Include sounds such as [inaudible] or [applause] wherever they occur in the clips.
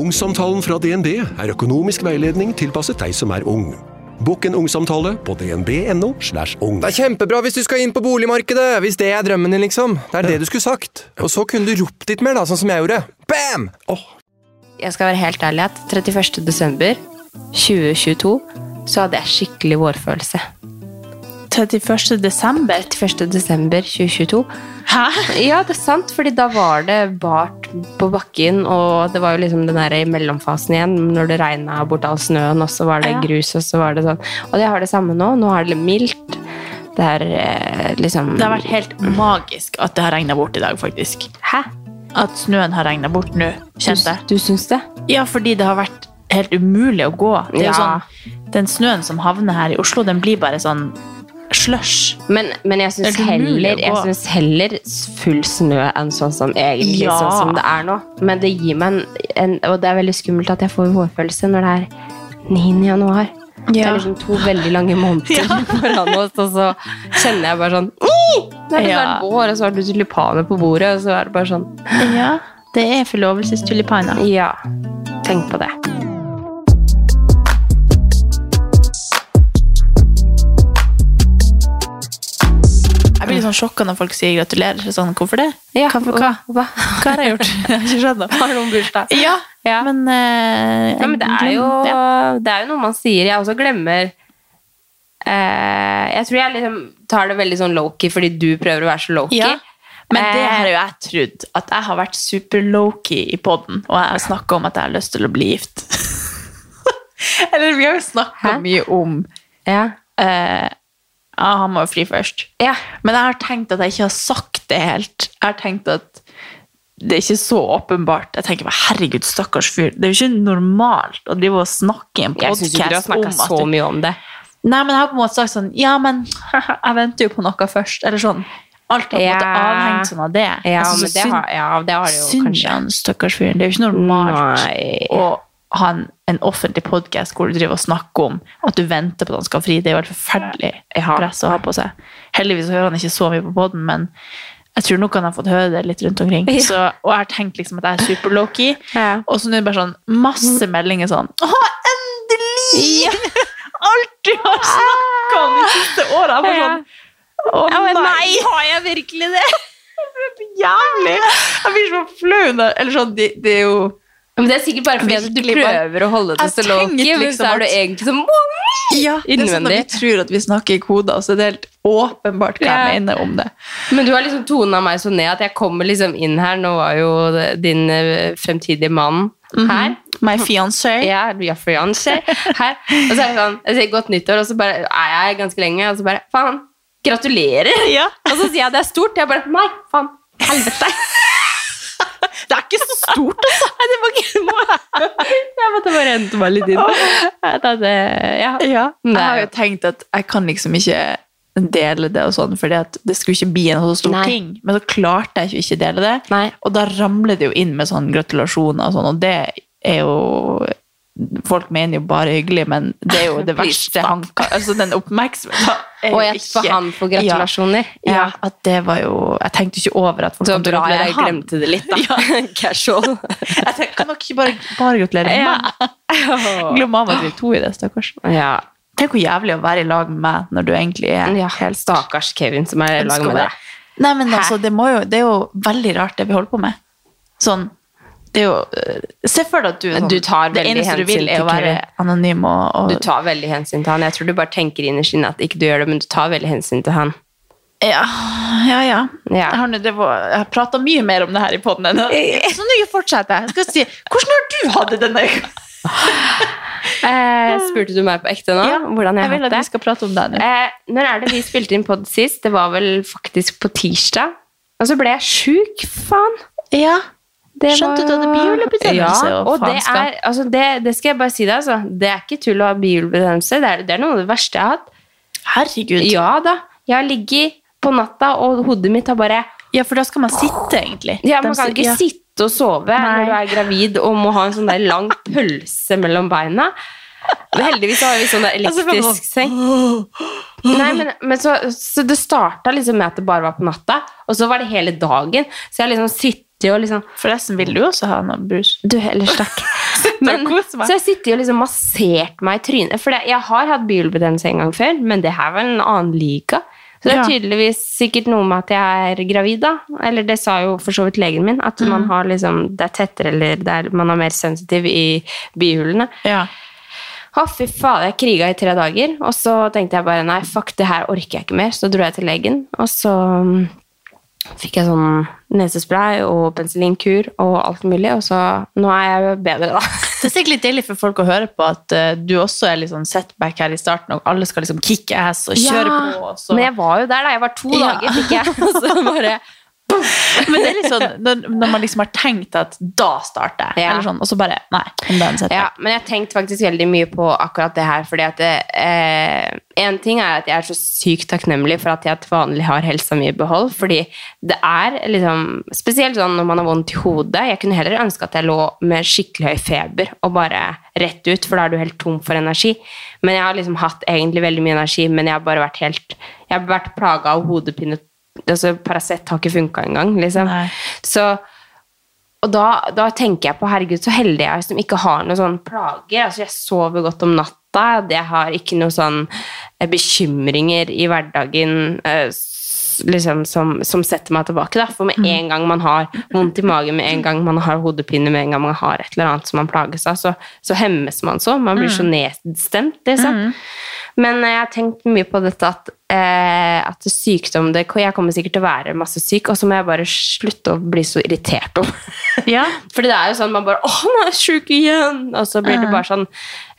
Ungsamtalen fra DNB er økonomisk veiledning tilpasset deg som er ung. Bokk en ungsamtale på dnb.no. slash ung. Det er kjempebra hvis du skal inn på boligmarkedet, hvis det er drømmen din, liksom. Det er det du skulle sagt. Og så kunne du ropt litt mer, da, sånn som jeg gjorde. Bam! Åh, Jeg skal være helt ærlig at 31. desember 2022 så hadde jeg skikkelig vårfølelse. 31. desember? 31. desember 2022. Hæ? Ja, det er sant, fordi da var det bart på bakken, og det var jo liksom den der i mellomfasen igjen, når det regna bort all snøen, og så var det Ja. grus, og så var det sånn. Og jeg har det samme nå. Nå er det mildt. Det er eh, liksom Det har vært helt magisk at det har regna bort i dag, faktisk. Hæ? At snøen har regna bort nå, kjente jeg. Du, du syns det? Ja, fordi det har vært helt umulig å gå. Det er jo Ja. sånn, den snøen som havner her i Oslo, den blir bare sånn slush. Men, men jeg syns Det er ikke mulig heller, å jeg gå. synes heller s- full snø enn sånn som egentlig Ja. sånn som det er nå. Men det gir meg en, en Og det er veldig skummelt at jeg får vårfølelse når det er 9. januar. Det er liksom to veldig [laughs] lange måneder [laughs] foran oss, og så kjenner jeg bare sånn «Ih!» Det er liksom Ja. vår, og så har du tulipaner på bordet, og så er det bare sånn Ja, det er forlovelsestulipaner. Ja, tenk på det. Jeg blir litt sånn sjokka når folk sier gratulerer. Så sånn, hvorfor det? Ja, Hvorfor og- hva? hva? [laughs] Hva har jeg gjort? [laughs] Jeg har ikke skjønt det. Har noen bursdag? Ja, Ja. men, eh, Ja, men det er, jo, ja. det er jo noe man sier. Jeg også glemmer eh, Jeg tror jeg liksom tar det veldig sånn lowkey fordi du prøver å være så lowkey. Ja, Men det Eh, har jo jeg trodd. At jeg har vært super low-key i poden, og jeg har snakka om at jeg har lyst til å bli gift. [laughs] Eller vi har jo snakka Hæ? mye om Eh, ja. Ja, han må jo fri først. Ja. Men jeg har tenkt at jeg ikke har sagt det helt. Jeg har tenkt at det er ikke så åpenbart. Jeg tenker bare, herregud, stakkars fyr. Det er jo ikke normalt å drive og snakke i en Jeg syns podkast ikke du har snakka så mye om det. Nei, men jeg har på en måte sagt sånn Ja, men [laughs] jeg venter jo på noe først. Eller sånn. Alt har på en måte Ja. avhengt sånn av det. Ja, Jeg synes men så det synd- har, ja, det har det jo Synd i kanskje. han stakkars fyren. Det er jo ikke normalt Nei. å ha en, en offentlig podkast hvor du driver og snakker om at du venter på at han skal ha fri. Det er jo helt forferdelig Ja. press å ha på seg. Heldigvis så hører han ikke så mye på poden, men jeg tror nok han har fått høre det litt rundt omkring. Så, og jeg har tenkt liksom at jeg er super low-key. Ja. Og så nå er det bare sånn masse meldinger sånn Å, endelig! [laughs] Alt du har snakka om de siste åra! Jeg var Ja. sånn Å men nei, har jeg virkelig det? Det er så jævlig! Jeg blir så flau. når- Eller sånn, det, det er jo Men det er sikkert bare fordi at du Virkelig bare- prøver å holde det Jeg så lowkey, tenkte men liksom så er du at- egentlig sånn ja, det er sånn at vi Innvendig. tror at vi snakker i koder, så det er helt åpenbart hva Ja. jeg mener om det. Men du har liksom tona meg så ned at jeg kommer liksom inn her. Nå var jo din eh, fremtidige mann her. My fiancé. Ja, vi har fiancé her. Og så er det sånn, jeg sier godt nyttår, og så bare er jeg ganske lenge, og så bare, faen, gratulerer. Ja. Og så sier jeg det er stort, jeg bare, nei, faen, helvete. Det er ikke så stort, altså! Nei, det var ikke noe. [laughs] Jeg måtte bare hente meg litt inn. Jeg tenkte, ja. Jeg Nei. har jo tenkt at jeg kan liksom ikke dele det og sånn, fordi at det skulle ikke bli en så stor Nei. ting. Men så klarte jeg ikke å ikke dele det, Nei. og da ramler det jo inn med sånn gratulasjoner og sånn, og det er jo Folk mener jo bare hyggelig, men det er [laughs] jo det verste han kan Altså, den oppmerksomheten er jo Og jeg for ikke- han for Ja. gratulasjoner. Ja, at det var jo Jeg tenkte ikke over at folk Så kom til å bra gratulere jeg han. glemte det litt da. Casual. Jeg tenkte, kan dere ikke bare, bare gratulere meg? Glem av at vi er to i det, stakkars. Ja. Tenk hvor jævlig å være i lag med meg når du egentlig er ja, helt stakkars Kevin som er i lag med deg. Nei, men Hæ? altså, det, må jo, det er jo veldig rart det vi holder på med. Sånn, det er jo øh, Se for deg at du, er sånn, Du tar Det veldig eneste du hensyn vil, er til å være Kevin. anonym og, og Du tar veldig hensyn til han. Jeg tror du bare tenker innerst inne at ikke du gjør det, men du tar veldig hensyn til han. Ja, ja. ja. Ja. Jeg, har, nå- det var, jeg har prata mye mer om det her i poden enn Så nå fortsetter jeg. Skal si, hvordan har du hatt det denne uka? Eh, spurte du meg på ekte nå? hvordan jeg vil har at hatt vi skal prate om deg det? nå. Eh, når er det vi spilte inn podd sist? Det var vel faktisk på tirsdag. Og så ble jeg sjuk, faen. Ja. Det Skjønte du at det er bihulebetennelse Ja, og og det faenskap? er altså det, det skal jeg bare si deg, altså. Det er ikke tull å ha bihulebetennelse. Det er, det er noe av det verste jeg har hatt. Herregud. Ja. Ja da. Jeg har ligget på natta, og hodet mitt har bare for da skal man sitte, egentlig. Ja, De man kan si- ikke ja. sitte og sove Nei. når du er gravid og må ha en sånn der [laughs] lang pølse mellom beina. Men heldigvis så har vi sånn der [laughs] Altså, for elektrisk seng. Nei, men, men så, så det starta liksom med at det bare var på natta, og så var det hele dagen. Så jeg har liksom sittet og liksom Forresten vil du også ha noe brus. Du heller stakk. Men, kos meg. [laughs] så jeg sitter jo liksom massert meg i trynet. For det- jeg har hatt bihulebetennelse en gang før, men det her var en annen liga. Så det er Ja. tydeligvis sikkert noe med at jeg er gravid, da. Eller det sa jo for så vidt legen min, at Mm. man har liksom, det er tettere, eller det er, man er mer sensitiv i bihulene. Ja. Å, fy faen, jeg kriga i tre dager. Og så tenkte jeg bare nei, fuck, det her orker jeg ikke mer. Så dro jeg til legen, og så mm, fikk jeg sånn nesespray og penicillinkur og alt mulig. Og så nå er jeg jo bedre, da. [laughs] Det er sikkert litt deilig for folk å høre på at eh, du også er litt sånn setback her i starten, og alle skal liksom kick ass og kjøre Ja, på. Og så. Men jeg var jo der, da. Jeg var to Ja. dager, fikk jeg. [laughs] Og så bare Men det er litt sånn når, når man liksom har tenkt at da starter jeg, Ja. eller sånn, og så bare Nei, om det er en Ja, setback. men jeg tenkte faktisk veldig mye på akkurat det her, fordi at det, eh, en ting er at jeg er så sykt takknemlig for at jeg til vanlig har helsa mi i behold, fordi det er liksom, spesielt sånn når man har vondt i hodet, jeg kunne heller ønske at jeg lå med skikkelig høy feber, og bare rett ut, for da er du helt tom for energi. Men jeg har liksom hatt egentlig veldig mye energi, men jeg har bare vært helt, jeg har vært plaget av hodepine, altså Paracet har ikke funket engang, liksom. Nei. Så og da, da tenker jeg på herregud, så heldig jeg er som ikke har noen sånne plager. Altså, jeg sover godt om natta, jeg har ikke noen sånn eh, bekymringer i hverdagen eh, s- liksom, som, som setter meg tilbake. Da. For med en gang man har vondt i magen, med en gang man har hodepine, med en gang man har et eller annet som man plages av, så, så hemmes man så. Man blir så nedstemt, liksom. Men eh, jeg har tenkt mye på dette at, eh, at sykdom det, Jeg kommer sikkert til å være masse syk, og så må jeg bare slutte å bli så irritert [laughs] over det. Ja. Fordi det er jo sånn man bare 'Å, han er sjuk igjen!' Og så blir det bare sånn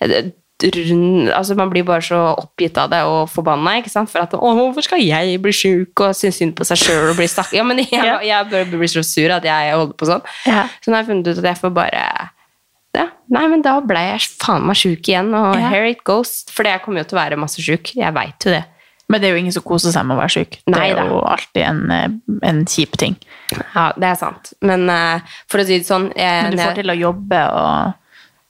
eh, rund, altså Man blir bare så oppgitt av det og forbanna. ikke sant? For at 'Å, hvorfor skal jeg bli sjuk?' og synes synd på seg sjøl og bli stakk... Ja, men [laughs] jeg, Ja. jeg bare blir så sur at jeg holder på sånn. Ja. Så nå har jeg funnet ut at jeg får bare ja. Nei, men da ble jeg faen meg sjuk igjen, og Ja. here it goes. For jeg kommer jo til å være masse sjuk. Jeg veit jo det. Men det er jo ingen som koser seg med å være syk. Det Nei er da. jo alltid en, eh, en kjip ting. Ja, det er sant. Men eh, for å si det sånn eh, Men du når- får til å jobbe og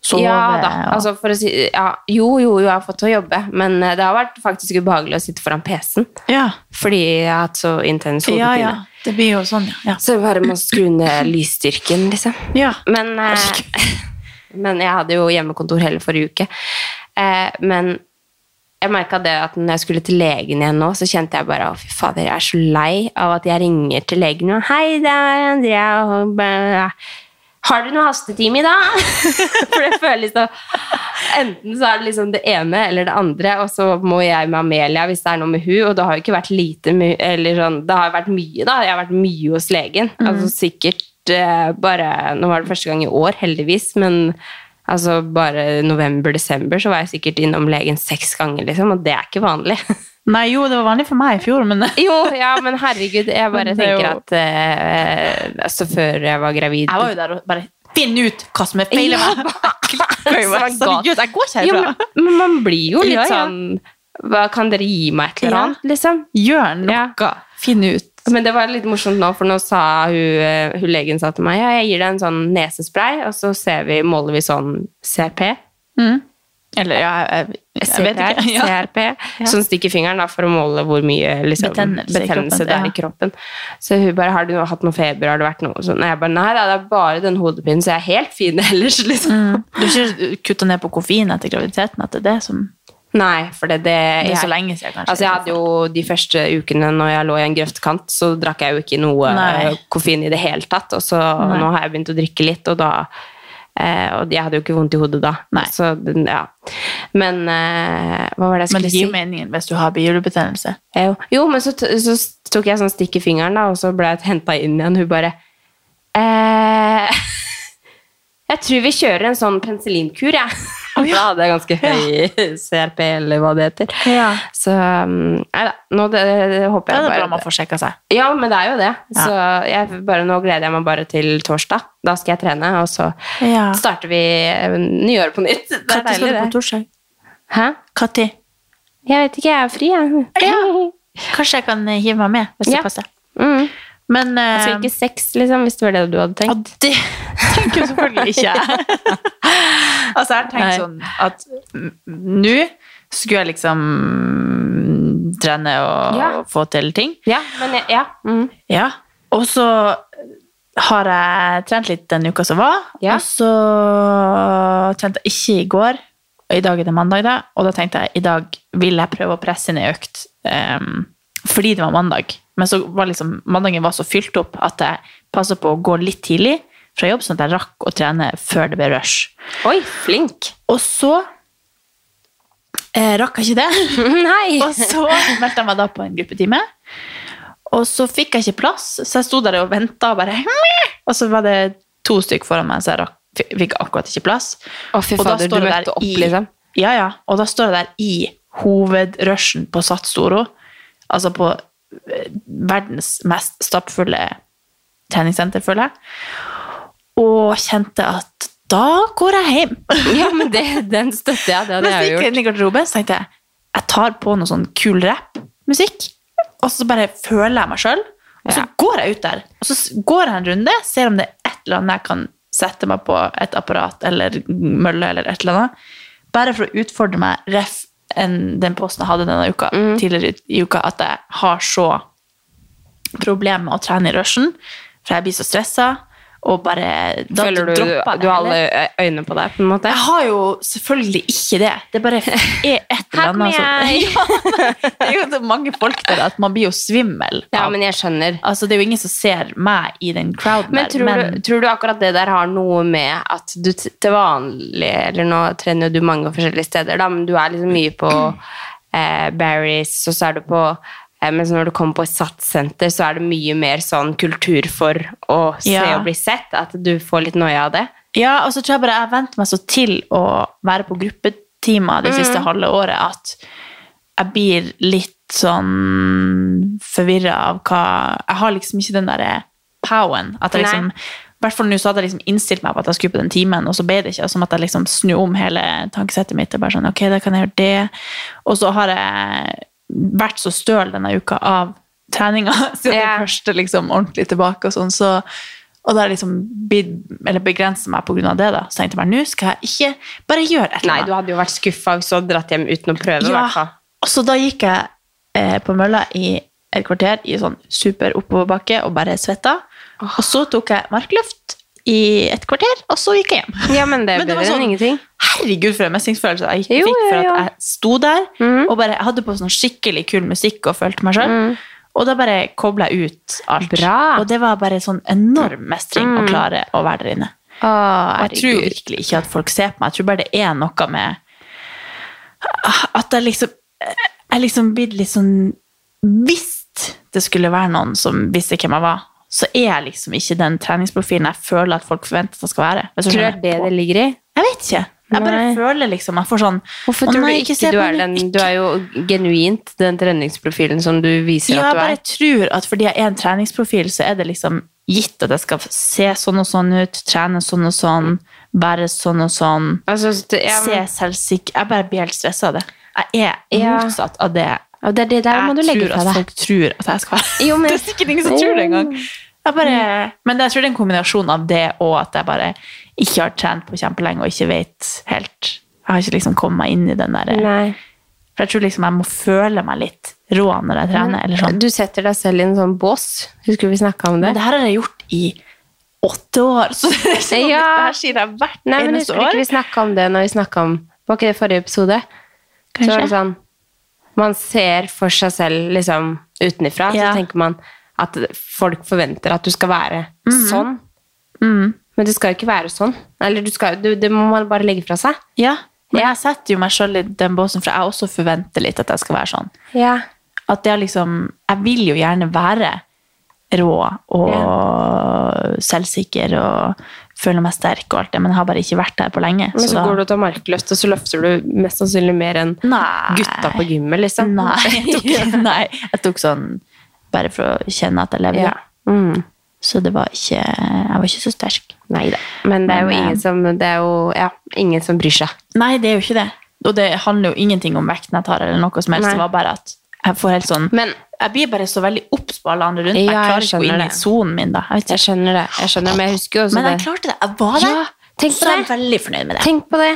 sove. ja, da. og- Altså, for å si, ja, jo, jo, jo, jeg har fått til å jobbe, men eh, det har vært faktisk ubehagelig å sitte foran PC-en. ja. Fordi jeg har hatt så intens hodepine. ja, ja. Det blir jo sånn, ja. Så jeg bare må skru ned lysstyrken, liksom. ja. Men, eh, [laughs] men jeg hadde jo hjemmekontor hele forrige uke. Eh, men jeg merka det at når jeg skulle til legen igjen nå, så kjente jeg bare å, fy fader, jeg er så lei av at jeg ringer til legen og Hei, det er Andrea. og bare, Har du noe hastetime i dag? [laughs] For det føles så Enten så er det liksom det ene eller det andre, og så må jeg med Amelia hvis det er noe med hun, og det har jo ikke vært lite my- eller sånn, det har vært mye, da. Jeg har vært mye hos legen. Altså sikkert eh, bare Nå var det første gang i år, heldigvis, men altså bare november-desember så var jeg sikkert innom legen seks ganger, liksom, og det er ikke vanlig. [laughs] Nei, jo, det var vanlig for meg i fjor, men jeg jo, ja, men herregud, jeg bare Men det er tenker jo- at eh, Altså, før jeg var gravid var jo der og bare Finn ut hva som er feil Ja, med [laughs] meg! galt? Herregud, jeg går ikke Jo, herfra! men, men man blir jo litt Ja, ja. sånn hva, Kan dere gi meg et eller Ja. annet, liksom? Gjør noe! Finn ut. Men det var litt morsomt nå, for nå sa hun, eh, hun legen sa til meg ja, jeg gir deg en sånn nesespray, og så ser vi, måler vi sånn CRP. Eller ja, jeg, Mm. jeg, jeg vet CPR, ikke. [laughs] Ja. CRP, som stikker fingeren da, for å måle hvor mye liksom, Betennelse i betennelse, kroppen, det er ja. i kroppen. Så hun bare 'Har du noe, hatt noe feber? Har det vært noe?' Sånn, og jeg bare 'Nei da, det er bare den hodepinen, så jeg er helt fin [laughs] ellers', liksom. Du har ikke kutta ned på koffein etter graviditeten? At det er det som Nei, for det, det, Det er så jeg- lenge siden, kanskje. Altså, jeg hadde jo de første ukene når jeg lå i en grøftkant, så drakk jeg jo ikke noe Nei. eh, koffein i det hele tatt. Og så nå har jeg begynt å drikke litt, og da eh, Og jeg hadde jo ikke vondt i hodet da. Nei. Så, den- ja. Men eh, hva var det jeg Men det skulle si? gir jo meningen hvis du har bihulebetennelse. Jo, jo men så, t- så tok jeg sånn stikk i fingeren, da, og så ble jeg henta inn igjen. Hun bare [laughs] [laughs] eh, Jeg tror vi kjører en sånn penicillinkur, jeg. Da hadde jeg ganske høy CRP, eller hva det heter. Ja. Så um, Nei da, nå det, det håper Det jeg er bra bare man får sjekka seg. Ja, men det er jo det. Så jeg, bare, nå gleder jeg meg bare til torsdag. Da skal jeg trene, og så Ja. starter vi eh, nyåret på nytt. [laughs] Det er Når skal deilig, du på det. torsdag? Hæ? Katti, Jeg vet ikke, jeg er fri, jeg. kanskje jeg kan eh, hive meg med hvis Ja. det passer. [laughs] Mm. Men Jeg skal eh, ikke sex, liksom, hvis det var det du hadde ja, tenkt. det [laughs] tenker jo selvfølgelig ikke jeg. [laughs] altså, jeg har tenkt Nei. sånn at mm, nå skulle jeg liksom trene og Ja. få til ting. Ja, men jeg, ja. Mm. Ja, og så har jeg trent litt den uka som var, Ja. og så trente jeg ikke i går, og i dag er det mandag da, og da tenkte jeg, i dag vil jeg prøve å presse inn i økt, ehm, fordi det var mandag. Men så var liksom, mandagen var så fylt opp at jeg passet på å gå litt tidlig fra jobb, sånn at jeg rakk å trene før det ble rush. [laughs] Oi, flink. Og så eh, rakk jeg ikke det, Nei. [laughs] og så meldte jeg meg da på en gruppetime. Og så fikk jeg ikke plass, så jeg sto der og venta og bare «Meh!» Og så var det to stykker foran meg, så jeg rakk, fikk- fikk akkurat ikke plass. Å, fy Og da fader, står du jeg møtte der opp, i- liksom. Ja, ja. Og da står jeg der i hovedrushen på Sats Storo, altså på eh, verdens mest stappfulle treningssenter, føler jeg, og kjente at da går jeg hjem. Ja, men det, den støtter jeg. Det hadde Men så jeg jo gikk jeg gjort. inn i garderoben, så tenkte jeg jeg tar på noe sånn kul rap-musikk, og så bare føler jeg meg sjøl. Og så Ja. går jeg ut der, og så s- går jeg en runde, ser om det er et eller annet jeg kan sette meg på et apparat eller mølle eller et eller annet. Bare for å utfordre meg ref enn den posten jeg hadde denne uka, Mm. tidligere i- i uka, at jeg har så problem med å trene i rushen, for jeg blir så stressa, og bare da Føler du dropper jeg det du har heller. alle ø- øynene på deg, på en måte? Jeg har jo selvfølgelig ikke det. Det bare er et eller Her kommer annet. jeg. som- [laughs] Ja, men det er jo så mange folk der at man blir jo svimmel. Ja, av- men jeg skjønner. Altså, det er jo ingen som ser meg i den crowden Men der. tror, du, tror du akkurat det der har noe med at du t- til vanlig Eller nå trener jo du mange forskjellige steder, da, men du er liksom mye på [clears throat] eh, Barry's, og så er du på eh, Mens når du kommer på et satssenter, så er det mye mer sånn kultur for å se Ja. og bli sett. At du får litt noia av det. Ja, og så tror jeg bare jeg har vent meg så til å være på gruppetimer det Mm. siste halve året at jeg blir litt sånn forvirra av hva Jeg har liksom ikke den derre powen. At jeg Nei. liksom I hvert fall nå så hadde jeg liksom innstilt meg på at jeg skulle på den timen, og så ble det ikke. Og så måtte jeg liksom snu om hele tankesettet mitt. og bare sånn, ok, da kan jeg gjøre det. Og så har jeg vært så støl denne uka av treninga, [laughs] siden Ja. jeg først er liksom ordentlig tilbake og sånn, så og da har jeg liksom bid- eller begrenset meg på grunn av det da. Så tenkte jeg bare, nå skal jeg ikke bare gjøre et eller Nei, annet. du hadde jo vært skuffa hvis du hadde dratt hjem uten å prøve. i hvert Ja, fall. og så da gikk jeg eh, på mølla i et kvarter i sånn super oppoverbakke og bare svetta. Og så tok jeg markluft i et kvarter, og så gikk jeg hjem. Ja, men det er Men det var bedre enn sånn- ingenting. Herregud, for en mestringsfølelse jeg Jo, Mhm. fikk for jo, at jo. jeg sto der og bare jeg hadde på sånn skikkelig kul musikk og følte meg sjøl. Og da bare kobla jeg ut alt. Mhm. Bra. Mhm. Og det var bare sånn enorm mestring å klare å være der inne. Og jeg tror virkelig ikke at folk ser på meg. Jeg tror bare det er noe med at jeg liksom Jeg er liksom blitt litt sånn Hvis det skulle være noen som visste hvem jeg var, så er jeg liksom ikke den treningsprofilen jeg føler at folk forventer at jeg skal være. Hvis du Tror du det skjønner. er det det ligger i? Jeg vet ikke. Jeg bare Nei. føler liksom Jeg får sånn «Å Hvorfor tror nei, du ikke, se du på er henne, den? ikke Du er jo genuint den treningsprofilen som du viser Ja, jeg at du bare er. tror at fordi jeg er en treningsprofil, så er det liksom gitt at jeg skal se sånn og sånn ut, trene sånn og sånn, være sånn og sånn, Altså, st- ja, se men, selvsikker Jeg bare blir helt stressa av det. Jeg er Ja. motsatt av det og det er det der må du jeg legge tror fra at deg. folk tror at jeg skal være. Jo, [laughs] men- det er sikkert ingen som tror det engang. Jeg bare, men jeg tror det er en kombinasjon av det og at jeg bare ikke har trent på kjempelenge og ikke vet helt Jeg har ikke liksom kommet meg inn i den derre Nei. For jeg tror liksom jeg må føle meg litt rå når jeg trener. eller sånn. Mm. Du setter deg selv i en sånn bås. Husker vi snakka om det? Men det her har jeg gjort i åtte år, så det er ikke sånn Ja. at det her sier jeg hvert Nei, men eneste husker du år. ikke vi snakka om det når vi snakka om Var ikke det forrige episode? Så var det Kanskje. sånn Man ser for seg selv liksom utenifra, Ja. så tenker man at folk forventer at du skal være Mhm. sånn. Men du skal jo ikke være sånn. Eller du skal, du, det må man bare legge fra seg. Ja, men jeg setter jo meg sjøl i den båsen, for jeg også forventer litt at jeg skal være sånn. Ja. At jeg liksom Jeg vil jo gjerne være rå og selvsikker og føler meg sterk og alt det, men jeg har bare ikke vært der på lenge. Men så da- går du og tar markløft, og så løfter du mest sannsynlig mer enn Nei. gutta på gymmet, liksom. [laughs] Nei. Jeg tok, [laughs] nei. Jeg tok sånn bare for å kjenne at jeg levde. Ja. Mm. Så det var ikke Jeg var ikke så sterk. Nei da. Men det er jo Men, eh, ingen som, det er jo, ja, ingen som bryr seg. Nei, det er jo ikke det. Og det handler jo ingenting om vekten jeg tar, eller noe som helst. Nei. Det var bare at jeg får helt sånn Men Jeg blir bare så veldig obs på alle andre rundt meg. Ja, Jeg jeg klarer ikke å gå skjønner inn i det. sonen min, da. Jeg vet jeg ikke. skjønner det. Jeg skjønner, men jeg husker jo også Men det. jeg klarte det. Jeg var der. Ja, tenk på så jeg er det. veldig fornøyd med det. Tenk på det.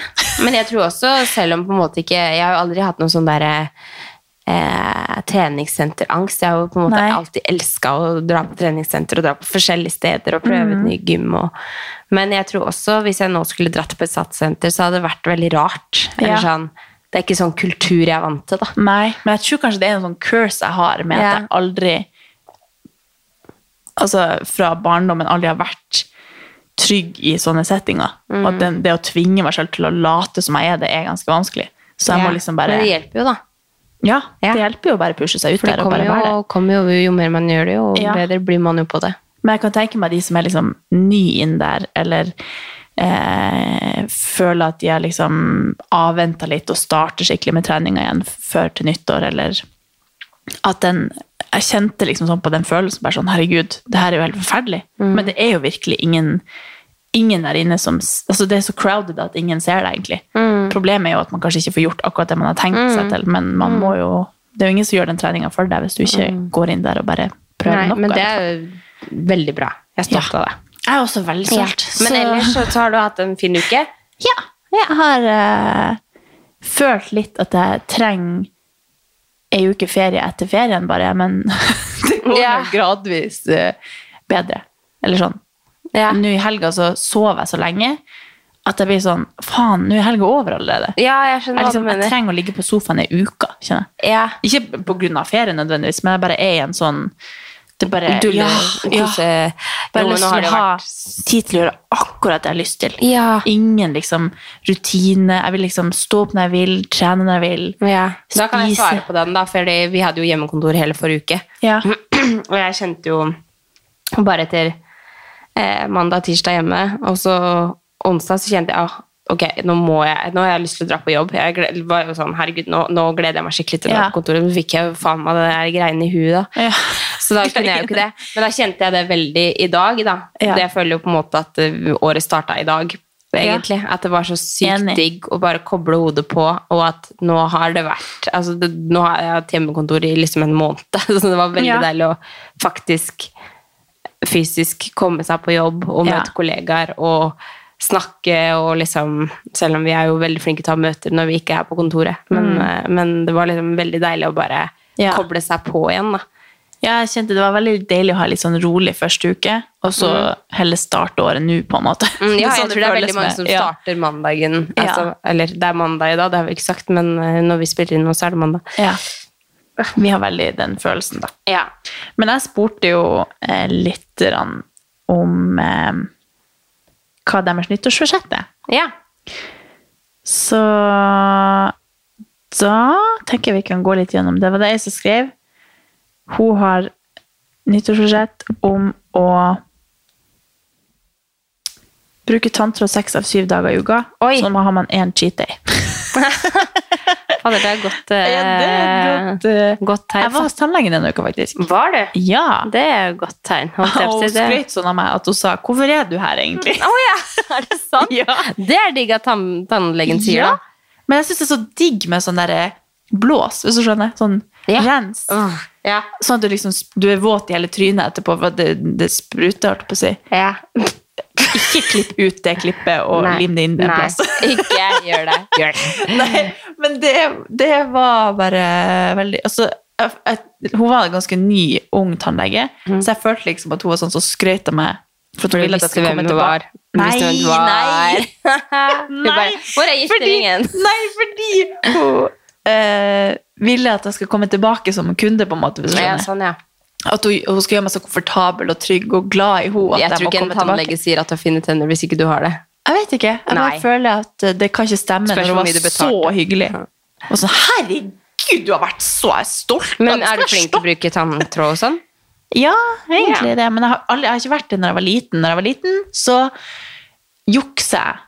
Men jeg tror også, selv om på en måte ikke Jeg har jo aldri hatt noen sånn derre eh, treningssenterangst. Jeg har jo på en måte Nei. alltid elska å dra på treningssenter og dra på forskjellige steder og Mm. prøve ut ny gym. Og, men jeg tror også, hvis jeg nå skulle dratt på et satssenter, så hadde det vært veldig rart. Eller Ja. sånn, det er ikke sånn kultur jeg er vant til, da. Nei, men jeg tror kanskje det er en sånn curse jeg har med Ja. at jeg aldri Altså fra barndommen aldri har vært trygg i sånne settinger. Og Mm. at den, det å tvinge meg selv til å late som jeg er det, er ganske vanskelig. Så jeg Ja. må liksom bare Men det hjelper jo, da. Ja, Ja. det hjelper jo å bare pushe seg ut For det der og kommer bare jo, være der. kommer jo jo mer man gjør det, jo Ja. bedre blir man jo på det. Men jeg kan tenke meg de som er liksom ny inn der, eller eh, føler at de har liksom avventa litt og starter skikkelig med treninga igjen f- før til nyttår, eller at den Jeg kjente liksom sånn på den følelsen, bare sånn herregud, det her er jo helt forferdelig. Mm. Men det er jo virkelig ingen Ingen der inne som s- altså Det er så crowded at ingen ser deg, egentlig. Mm. Problemet er jo at man kanskje ikke får gjort akkurat det man har tenkt seg til, men Mm. man må jo Det er jo ingen som gjør den treninga for deg hvis du ikke går inn der og bare prøver Nei, noe. men i det hvert fall. er jo veldig bra. Jeg er stolt Ja. av det. Jeg er også veldig stolt. Men så- ellers så, så har du hatt en fin uke. Ja, jeg har eh, følt litt at jeg trenger ei uke ferie etter ferien, bare. Men [laughs] det går Ja. jo gradvis eh, bedre. Eller sånn. Ja. Nå i helga så sov jeg så lenge at jeg blir sånn Faen, nå er helga over allerede. jeg skjønner Jeg, hva liksom, du jeg mener. trenger å ligge på sofaen ei uke, kjenner jeg. Ja. Ikke på grunn av ferie nødvendigvis, men jeg bare er i en sånn det bare, Dulle, ja, ja. kose. Bare Jo, men lyst nå til har å det jo ha vært tid til å gjøre akkurat det jeg har lyst til. Ja. Ingen liksom rutine. Jeg vil liksom stå opp når jeg vil, trene når jeg vil. ja. Da kan jeg Spise. svare på den, da, for vi hadde jo hjemmekontor hele forrige uke. Ja. [clears throat] Og jeg kjente jo bare etter eh, mandag, tirsdag hjemme, og så onsdag så kjente jeg ah, ok, nå, må jeg, nå har jeg lyst til å dra på jobb. Jeg gled, var jo sånn, herregud, nå, nå gleder jeg meg skikkelig til å dra Ja. på kontoret. Men fikk jeg jo faen meg det der greiene i huet da. Ja. Så da kunne jeg jo ikke det. Men da kjente jeg det veldig i dag da. Ja. Det jeg føler jo på en måte at eh, året startet i dag, egentlig. At det var så sykt Enig. digg å bare koble hodet på, og at nå har det vært, altså det, nå har jeg hatt hjemmekontor i liksom en måned. [laughs] Så det var veldig Ja. deilig å faktisk fysisk komme seg på jobb og Ja. møte kollegaer og snakke og liksom Selv om vi er jo veldig flinke til å ha møter når vi ikke er på kontoret, men, eh, men det var liksom veldig deilig å bare Mm. Ja. koble seg på igjen, da. Ja, jeg kjente det var veldig deilig å ha litt sånn rolig første uke, og så heller starte året nå, på en måte. Mm, ja, er [laughs] sånn jeg tror det er føles veldig mange med- som ja. starter mandagen. Ja. Altså, eller det er mandag i dag, det har vi ikke sagt, men eh, når vi spiller inn nå, så er det mandag. Ja. Vi har veldig den følelsen, da. Ja. Men jeg spurte jo eh, litt grann om eh, hva deres nyttårsforsett er. ja. Så da tenker jeg vi kan gå litt gjennom det. Det var det jeg som skrev. Hun har nyttårsforsett om å bruke tanntråd seks av syv dager i uka. Oi. Så nå har man én cheat day. Fader, det er godt, eh, godt Eh, eh, Jeg tegn. var hos tannlegen denne uka, faktisk. Var det? Ja. Det er jo godt tegn. holdt jeg på å Og si. hun Det- skrøt sånn av meg at hun sa 'Hvorfor er du her, egentlig?' Å ja, [laughs] er det sant? Ja. Det er digg at tann tannlegen sier Ja. det. Men jeg syns det er så digg med sånn derre blås, hvis du skjønner. Sånn Ja. rens. Ja. Sånn at du liksom du er våt i hele trynet etterpå, for det, det spruter, holdt jeg på å si. ja. Ikke klipp ut det klippet og [laughs] Nei. lim det inn en Nei. plass. [laughs] Ikke gjør det. Gjør det. Nei, men det, det var bare veldig altså, jeg, jeg, Hun var en ganske ny, ung tannlege, Mm. så jeg følte liksom at hun var sånn som skrøt av meg. For at Du hun ville at jeg visste skulle hvem komme du var. tilbake. Du visste hvem du [laughs] var. nei. [laughs] Du bare, Hvor er gifteringen? Fordi, [laughs] nei, fordi hun eh, ville at jeg skulle komme tilbake som kunde, på en måte. Hvis du Ja, skjønner. sånn, ja. At hun, hun skal gjøre meg så komfortabel og trygg og glad i henne. At Jeg tror må ikke en komme tilbake. tannlege sier at du har fine tenner hvis ikke du har det. Jeg vet ikke. Jeg bare Nei. føler at eh, det kan ikke stemme Spørs når hvor hun mye du var så betalte. hyggelig. Og sånn, herregud, du har vært så jeg er stolt. Men av er du deg, flink til å bruke tanntråd og sånn? Ja, egentlig det. Men jeg har, aldri, jeg har ikke vært det når jeg var liten. Når jeg var liten, så jukser jeg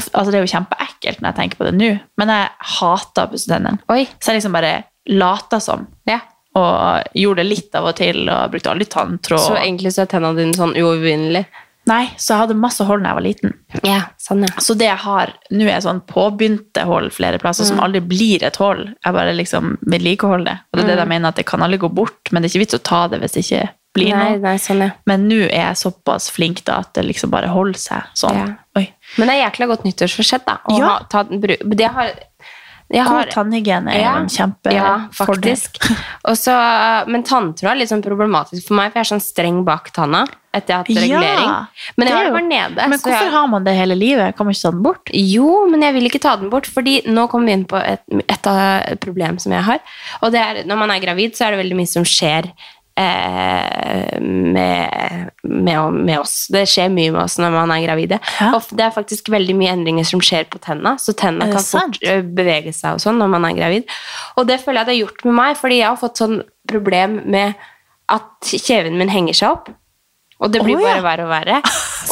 ofte, altså Det er jo kjempeekkelt når jeg tenker på det nå, men jeg hater å pusse tennene. Oi. Så jeg liksom bare lata som. Ja. Og gjorde det litt av og til, og brukte aldri tanntråd. Så egentlig så er tennene dine sånn uovervinnelige. Nei, så jeg hadde masse hull da jeg var liten. Ja, sånn, ja. Så det jeg har nå, er sånn påbegynte hull flere plasser, Mm. som aldri blir et hull. Jeg bare liksom vedlikeholder det. Og det Mm. er det jeg mener, at det kan aldri gå bort, men det er ikke vits å ta det hvis det ikke blir Nei, noe. nei, sånn, ja. Men nå er jeg såpass flink da at det liksom bare holder seg sånn. Ja. Oi. Men det er jækla godt nyttårsforsett, da. Å Ja. ha, ta, bru- det har, jeg har, God tannhygiene er jo en kjempefordel. Ja, faktisk. [laughs] Og så- men tanntråd er litt sånn problematisk for meg, for jeg er sånn streng bak tanna etter jeg har hatt Ja, regulering. Men jeg det har er det bare jo- nede. Men så jeg- hvorfor har man det hele livet? Jeg Kommer ikke sånn bort? Jo, men jeg vil ikke ta den bort, fordi nå kommer vi inn på et, et, av- et problem som jeg har. Og det er, når man er gravid, så er det veldig mye som skjer eh, med, med, med oss. Det skjer mye med oss når man er gravide. Ja. Og det er faktisk veldig mye endringer som skjer på tenna, så tenna Er det kan sant? fort eh, bevege seg og sånn når man er gravid. Og det føler jeg det har gjort med meg, fordi jeg har fått sånn problem med at kjeven min henger seg opp. Og det blir Å, ja. bare verre og [laughs] verre.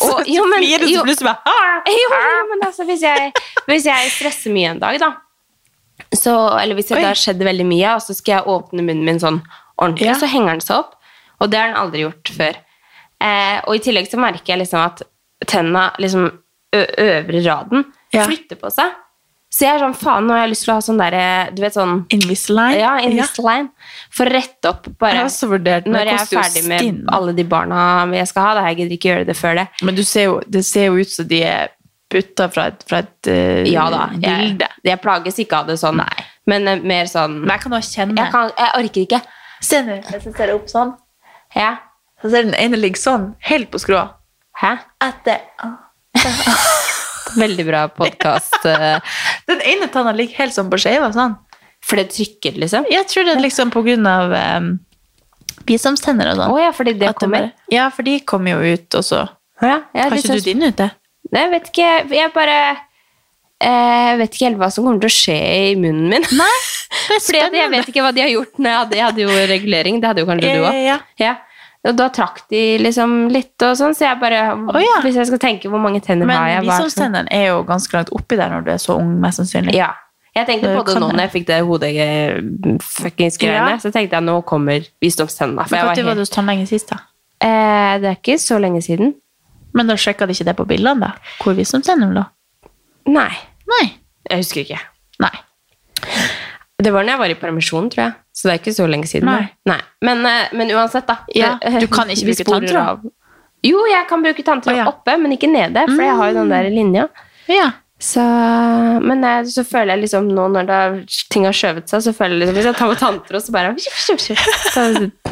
Og, jo, men- Blir det så jo- plutselig bare, «Ah!» [laughs] jo, jo, men altså, hvis jeg, hvis jeg stresser mye en dag, da så, Eller hvis Oi. det har skjedd veldig mye, og så skal jeg åpne munnen min sånn ordentlig, Ja. så henger den seg opp. Og det har den aldri gjort før. Eh, og i tillegg så merker jeg liksom at tenna, liksom ø øvre raden, Ja. flytter på seg. Så jeg er sånn faen, nå har jeg lyst til å ha sånn derre Du vet sånn Invisalign? Ja, Invisalign. For å rette opp, bare. Jeg har også vurdert, men når det jeg er koster jo ferdig med skinn. alle de barna jeg skal ha, da. Jeg gidder ikke gjøre det før det. Men du ser jo, det ser jo ut som de er putta fra et, fra et eh, Ja da, jeg, bilde. Mm. jeg plages ikke av det sånn. Nei. Men eh, mer sånn Men jeg kan også kjenne jeg, kan, jeg orker ikke. Se nå, hvis jeg ser opp sånn, Ja. så ser den ene ligge sånn, helt på skrå. Hæ? Etter. Veldig bra [laughs] podkast. Den ene tanna ligger helt sånn på skeiva sånn. For det trykker, liksom? Å Jeg tror det er liksom på grunn av um, visdomstenner og sånn. ja, fordi det At kommer. bare- Ja, for de kommer jo ut, og så Å Ja, ja, Har det ikke syns- du din ute? Nei, jeg vet ikke. Jeg bare eh, vet ikke helt hva som kommer til å skje i munnen min. Nei, [laughs] Det er [laughs] Fordi at jeg vet ikke hva de har gjort når jeg hadde, jeg hadde jo regulering. Det hadde jo kanskje du Ja, òg. Eh, ja, Ja. Og da trakk de liksom litt og sånn, så jeg bare ja. Hvis jeg skal tenke hvor mange tenner har Men jeg hva er det som- visdomstennene er jo ganske langt oppi der når du er så ung, mest sannsynlig. Ja. Jeg tenkte Det på det kan nå det. når jeg fikk det hodegreiene. Ja. Så tenkte jeg nå kommer visdomstenna. For jeg Når var var du helt, hos tannlegen sist, da? eh, det er ikke så lenge siden. Men da sjekka de ikke det på bildene, da? Hvor visdomstennene lå? Nei. Nei. Jeg husker ikke. Nei. Det var når jeg var i permisjon, tror jeg. Så det er ikke så lenge siden. Nei. Men, eh, men uansett, da. Ja, Eh, du kan ikke vi bruke sporer tanntråd. av. Jo, jeg kan bruke tanntråd Å, ja. oppe, men ikke nede, for jeg har jo den der linja. Ja. Så, men jeg, så føler jeg liksom nå når det, har- ting har skjøvet seg, så føler jeg liksom Hvis jeg tar på tanntråd, så bare så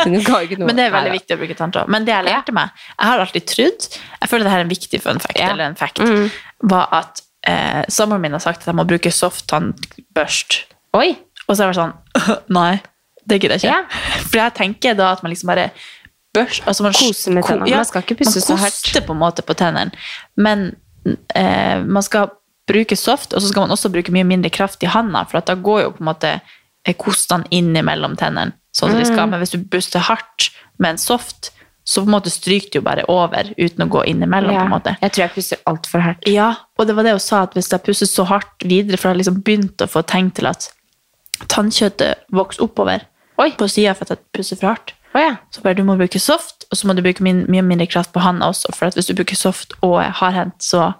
ga ikke noe. Men det er Neida. veldig viktig å bruke tanntråd. Men det jeg lærte meg Jeg har alltid trodd Jeg føler det her er en viktig fun fact, Ja. eller en fact, Mm. var at eh, samboeren min har sagt at jeg må bruke soft tannbørst. Oi! Og så har jeg vært sånn [laughs] Nei, det gidder jeg ikke. Ja. For jeg tenker da at man liksom bare børs, altså man Kose med ko- tennene. Man skal ikke pusse så Man hardt. koster på en måte på tennene, men eh, man skal bruke soft, og så skal man også bruke mye mindre kraft i handa, for at da går jo på en måte eh, kostene inn imellom tennene, sånn som de Mm. skal. Men hvis du buster hardt med en soft, så på en måte stryker det jo bare over uten å gå innimellom, på en måte. Jeg tror jeg pusser altfor hardt. Ja, og det var det hun sa, at hvis jeg pusser så hardt videre, for jeg har liksom begynt å få tegn til at tannkjøttet vokser oppover Oi. på sida for at jeg pusser for hardt, Å ja. så bare du må bruke soft, og så må du bruke min, mye mindre kraft på handa også, for at hvis du bruker soft og hardhendt, så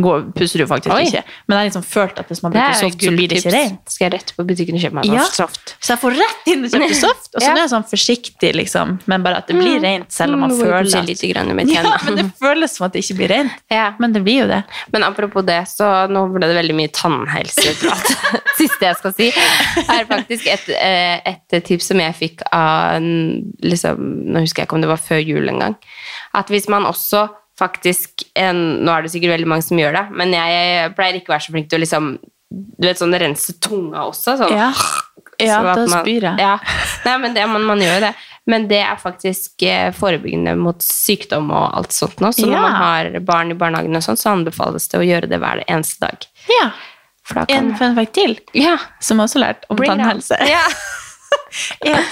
går, pusser du faktisk Oi. ikke. Men jeg har liksom følt at hvis man Det bruker er jo soft, så blir det gulltips. ikke rent. Skal jeg rett på butikken og kjøpe meg noe Ja. soft? Så jeg får rett inn og kjøper soft, og så Ja. nå er jeg sånn forsiktig, liksom, men bare at det blir rent, selv om man Mm, må jo føler pushe at... lite grann med Ja, men tennene. det føles som at det ikke blir rent. Ja. Men det blir jo det. Men apropos det, så nå ble det veldig [laughs] mye tannhelseprat. [laughs] Siste jeg skal si, er faktisk et, eh, et tips som jeg fikk av en- liksom, Nå husker jeg ikke om det var før jul en gang. At hvis man også faktisk en, Nå er det sikkert veldig mange som gjør det, men jeg pleier ikke å være så flink til å liksom du vet, sånn, rense tunga også. Sånn. Ja, ja Sånn at da man- spyr jeg. Ja. Nei, men det, man, man gjør jo det. Men det er faktisk eh, forebyggende mot sykdom og alt sånt nå. Så Ja. når man har barn i barnehagen og sånt, så anbefales det å gjøre det hver eneste dag. Ja. For da kan En fun fact til, Ja, som jeg også lærte om bring it on. tannhelse, Ja. er at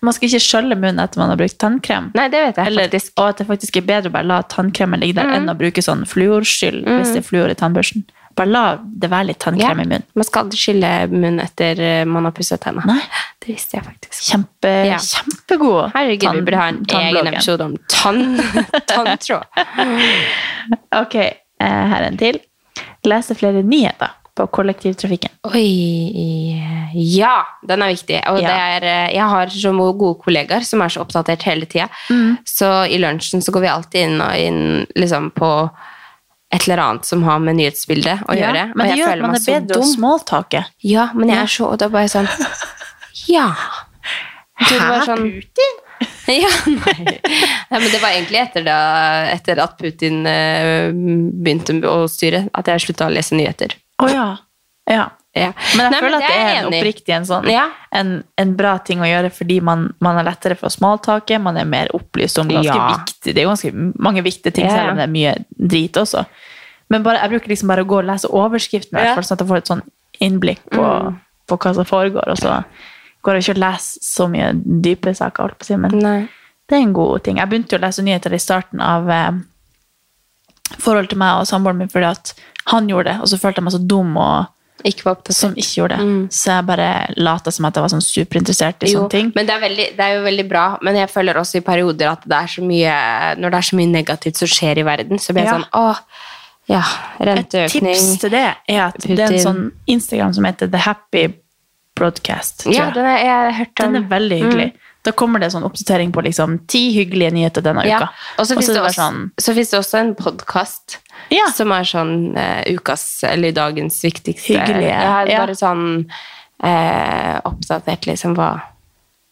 Man skal ikke skjølle munnen etter man har brukt tannkrem. Nei, det vet jeg Eller, faktisk. Mm. og at det faktisk er bedre å bare la tannkremen ligge der enn å bruke sånn fluorskyld hvis det er fluor i tannbørsten. Bare la det være litt Ja. tannkrem i munnen. Man skal aldri skylle munnen etter eh, man har pusset tennene. Nei. Det visste jeg faktisk. Kjempe, Ja. Kjempegod Herregud, vi burde ha en egen tannbloggen. episode om tann, [laughs] tanntråd. Ok, eh, her er en til. Lese flere nyheter på kollektivtrafikken. Oi Ja, den er viktig. Og Ja. det er, eh, jeg har så mo- gode kollegaer som er så oppdatert hele tida. Mm. Så i lunsjen så går vi alltid inn og inn liksom på et eller annet som har med nyhetsbildet å gjøre. men og det jeg gjør at føler man meg er så bedre å dum. smalltake. Ja, men jeg er så Og da bare sånn [laughs] Ja. [laughs] Det var sånn- Putin? Ja, nei. nei. Men det var egentlig etter, da, etter at Putin eh, begynte å styre, at jeg slutta å lese nyheter. Å ja. ja. Ja. Men jeg Nei, føler at det jeg er en enig i. oppriktig en sånn Ja. en, en bra ting å gjøre fordi man, man er lettere for å smalltake, man er mer opplyst om ganske Ja. viktig, det er ganske mange viktige ting, Ja, ja. selv om det er mye drit også. Men bare, jeg bruker liksom bare å gå og lese overskriften, i hvert Ja. fall, sånn at jeg får et sånn innblikk på, på hva som foregår, og så går jeg ikke og leser så mye dype saker, holdt på å si, men Nei. det er en god ting. Jeg begynte jo å lese nyheter i starten av eh, forholdet til meg og samboeren min, fordi at han gjorde det, og så følte jeg meg så dum og Ikke var opptatt som ikke gjorde det. Så jeg bare lata som at jeg var sånn superinteressert i Mm. Jo, sånne ting. Men det er, veldig, det er jo veldig bra, men jeg føler også i perioder at det er så mye, når det er så mye negativt som skjer i verden, så blir jeg Ja. sånn åh, ja, Et renteøkning. tips til det er at det er en Putin. sånn Instagram som heter The Happy Broadcast. tror Ja, jeg. den er, jeg har hørt om. Mm. den er veldig hyggelig. Da kommer det sånn oppdatering på liksom ti hyggelige nyheter denne Ja. uka. Og så finnes er det, bare sånn- også- så finnes det også en podkast Ja. som er sånn eh, ukas, eller dagens viktigste. Hyggelige, Ja, ja. bare sånn eh, oppdatert liksom hva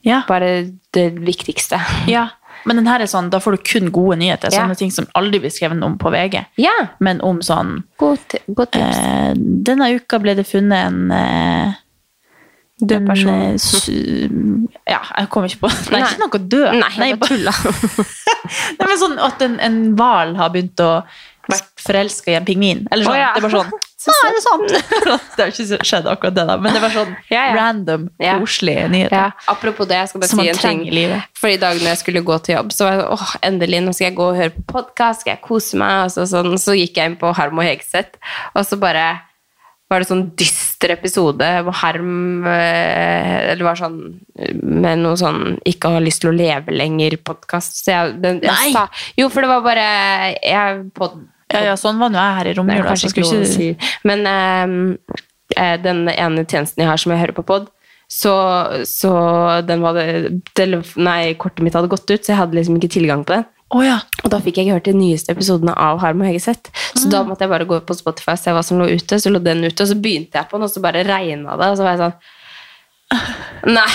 ja. Bare det viktigste. Ja, men den her er sånn, da får du kun gode nyheter. Ja. Sånne ting som aldri blir skrevet om på VG. Ja. Men om sånn God, ti- god tips. eh, Denne uka ble det funnet en eh, en, eh, su- ja, jeg kom ikke på [laughs] Nei, Nei. ikke noe død. Nei, jeg bare- bare [laughs] tulla. [laughs] Nei, men sånn at en, en hval har begynt å vært forelska i en pingvin. Eller sånn. Å, ja. Det var [laughs] sånn Så Nei, det er [laughs] sant! det har jo ikke skjedd akkurat det, da. Men det var sånn Ja, ja. random, Ja. koselige nyheter. Ja. Apropos det, jeg skal bare Som si man en ting. trenger i livet. For i dag når jeg skulle gå til jobb, så var jeg sånn, åh, endelig, nå skal jeg gå og høre på podkast, skal jeg kose meg, og så, sånn. så gikk jeg inn på Harm og Hegseth, og så bare var det sånn dyster episode hvor Harm eh, Eller var sånn med noe sånn 'ikke har lyst til å leve lenger'-podkast. Så jeg, den, Nei! jeg sa Jo, for det var bare jeg, pod, Ja, ja, sånn var nå jeg her i Nei, romjula. kanskje så ikke skulle lov å ikke- si. Men ehm, eh, den ene tjenesten jeg har som jeg hører på pod, så, så den var det, telef- nei, kortet mitt hadde gått ut, så jeg hadde liksom ikke tilgang på den. Å ja. Og da fikk jeg ikke hørt de nyeste episodene av Harm og Hegeseth. Så da måtte jeg bare gå på Spotify og se hva som lå ute, så lå den ute, og så begynte jeg på den, og så bare regna det, og så var jeg sånn [laughs] Nei.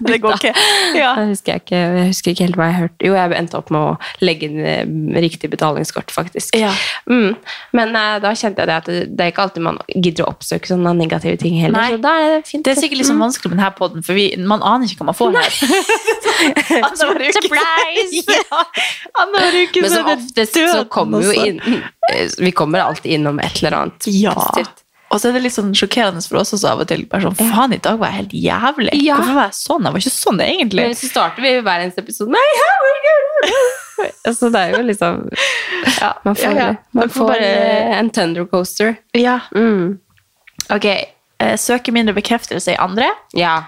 Det går ikke. Ja. Jeg husker, jeg ikke, jeg husker ikke helt hva jeg hørte. Jo, jeg endte opp med å legge inn eh, riktig betalingskort, faktisk. Ja. Mm. Men eh, da kjente jeg det at det, det er ikke alltid man gidder å oppsøke sånne negative ting heller. Nei. Så da er det Mm. fint. Det er sikkert litt sånn vanskelig med denne podden, for vi, man aner ikke hva man får her. [laughs] Annenhver uke- Surprise! [laughs] ja, annenhver uke [laughs] Men så som er det oftest så døden kommer jo også. inn, eh, Vi kommer alltid innom et eller annet Ja. positivt. Og så er det litt sånn sjokkerende for oss også av og til. Bare sånn, faen, i dag var jeg helt jævlig. Ja. Hvorfor var jeg sånn? Jeg var ikke sånn egentlig. Men så starter vi hver eneste episode med «Hei, how are you?» [laughs] Så det er jo liksom Man får, ja, ja. Man Man får får bare- eh, en tender coaster. Ja. Mm. Ok, eh, søker mindre bekreftelse i andre. Ja.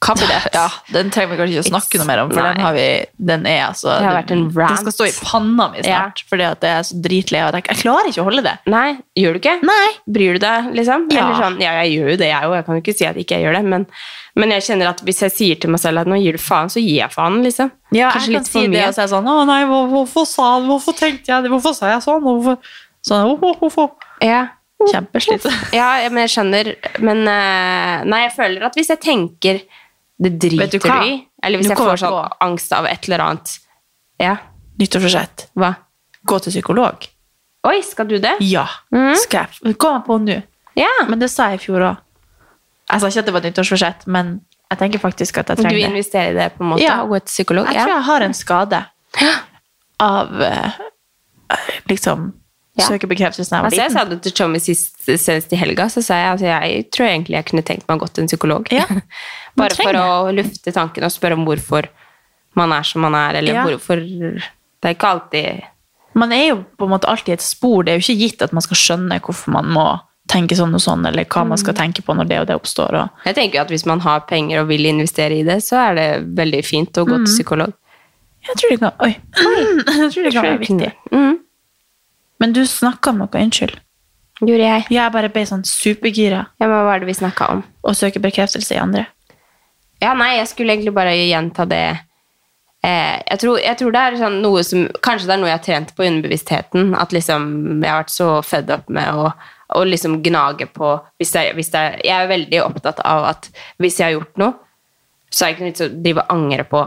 Hva blir det? Ja, den trenger vi kanskje ikke å snakke noe mer om, for Nei. den, har vi, den er altså... Det har vært en rant. Den skal stå i panna mi snart, fordi at jeg er så dritlei av det. Jeg klarer ikke å holde det. Nei, gjør du ikke? Nei. Bryr du deg, liksom? Ja. Eller sånn, ja, jeg gjør jo det, jeg òg. Jeg kan jo ikke si at ikke jeg gjør det. Men, men jeg kjenner at hvis jeg sier til meg selv at nå gir du faen, så gir jeg faen, liksom. Ja, Kanskje jeg kan litt for si det mye. og si sånn Å nei, hvor- hvorfor sa han Hvorfor tenkte jeg det? Hvorfor sa jeg sånn? Hvorfor? Sånn, «Å, å, å, å». Ja. Kjempeslitt. ja, ja, men jeg skjønner. Men eh, nei, jeg føler at hvis jeg tenker det Vet du driter hva? du i, eller Nå hvis jeg kommer får sånn jeg angst av et eller annet Ja, Nyttårsforsett. hva? Gå til psykolog. Oi, skal du det? Ja. Mhm. Skal jeg Gå på nå. Ja. Men det sa jeg i fjor òg. Jeg sa ikke at det var et nyttårsforsett, men jeg tenker faktisk at jeg Du trenger det. investerer i det, på en måte? Ja. Og går til psykolog? Jeg tror jeg har en skade av eh, liksom Ja. Søker bekreftelse da jeg var Altså, jeg liten. sa det til Tommy sist, senest i helga, så sa jeg at altså, jeg tror egentlig jeg kunne tenkt meg å gå til en psykolog. [laughs] Ja. Man Bare for å trenger lufte tankene og spørre om hvorfor man er som man er, eller Ja. hvorfor Det er ikke alltid Man er jo på en måte alltid i et spor. Det er jo ikke gitt at man skal skjønne hvorfor man må tenke sånn og sånn, eller hva Mm. man skal tenke på når det og det oppstår. Og. Jeg tenker jo at hvis man har penger og vil investere i det, så er det veldig fint å gå til psykolog. Jeg tror det kan, oi. Mm. Jeg tror det kan være viktig. Mm. Men du snakka om noe, unnskyld. Gjorde jeg. Jeg bare ble sånn supergira Ja, men hva er det vi snakka om? og søker bekreftelse i andre. Ja, nei, jeg skulle egentlig bare gjenta det. Eh, jeg, tror, jeg tror det er sånn noe som Kanskje det er noe jeg har trent på i underbevisstheten. At liksom jeg har vært så fed up med å, å liksom gnage på hvis jeg, hvis jeg, jeg er veldig opptatt av at hvis jeg har gjort noe, så er det ikke noe vits å drive og angre på.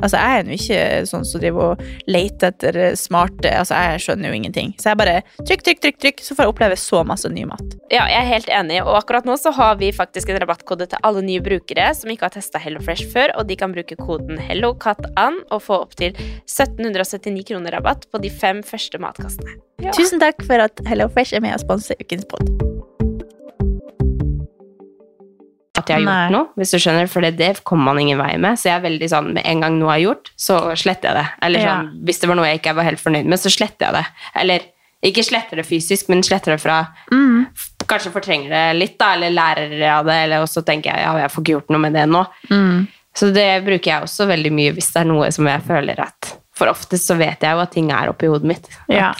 altså, jeg er jo ikke sånn som driver og leter etter smarte Altså, jeg skjønner jo ingenting. Så jeg bare trykk, trykk, trykk, trykk, så får jeg oppleve så masse ny mat. Ja, jeg er helt enig, og akkurat nå så har vi faktisk en rabattkode til alle nye brukere som ikke har testa HelloFresh før, og de kan bruke koden HelloCatAn og få opptil 1779 kroner rabatt på de fem første matkassene. Ja. Tusen takk for at HelloFresh er med og sponser ukens pod. At jeg har gjort Nei. noe, hvis du skjønner, for det, det kommer man ingen vei med. Så jeg er veldig sånn med en gang noe jeg har gjort, så sletter jeg det. Eller Ja. sånn, hvis det var noe jeg ikke var helt fornøyd med, så sletter jeg det. Eller ikke sletter det fysisk, men sletter det fra Mm. f- Kanskje fortrenger det litt, da, eller lærer av det, eller og så tenker jeg ja, jeg får ikke gjort noe med det nå. Mm. Så det bruker jeg også veldig mye hvis det er noe som jeg føler at For oftest så vet jeg jo at ting er oppi hodet mitt. Ja.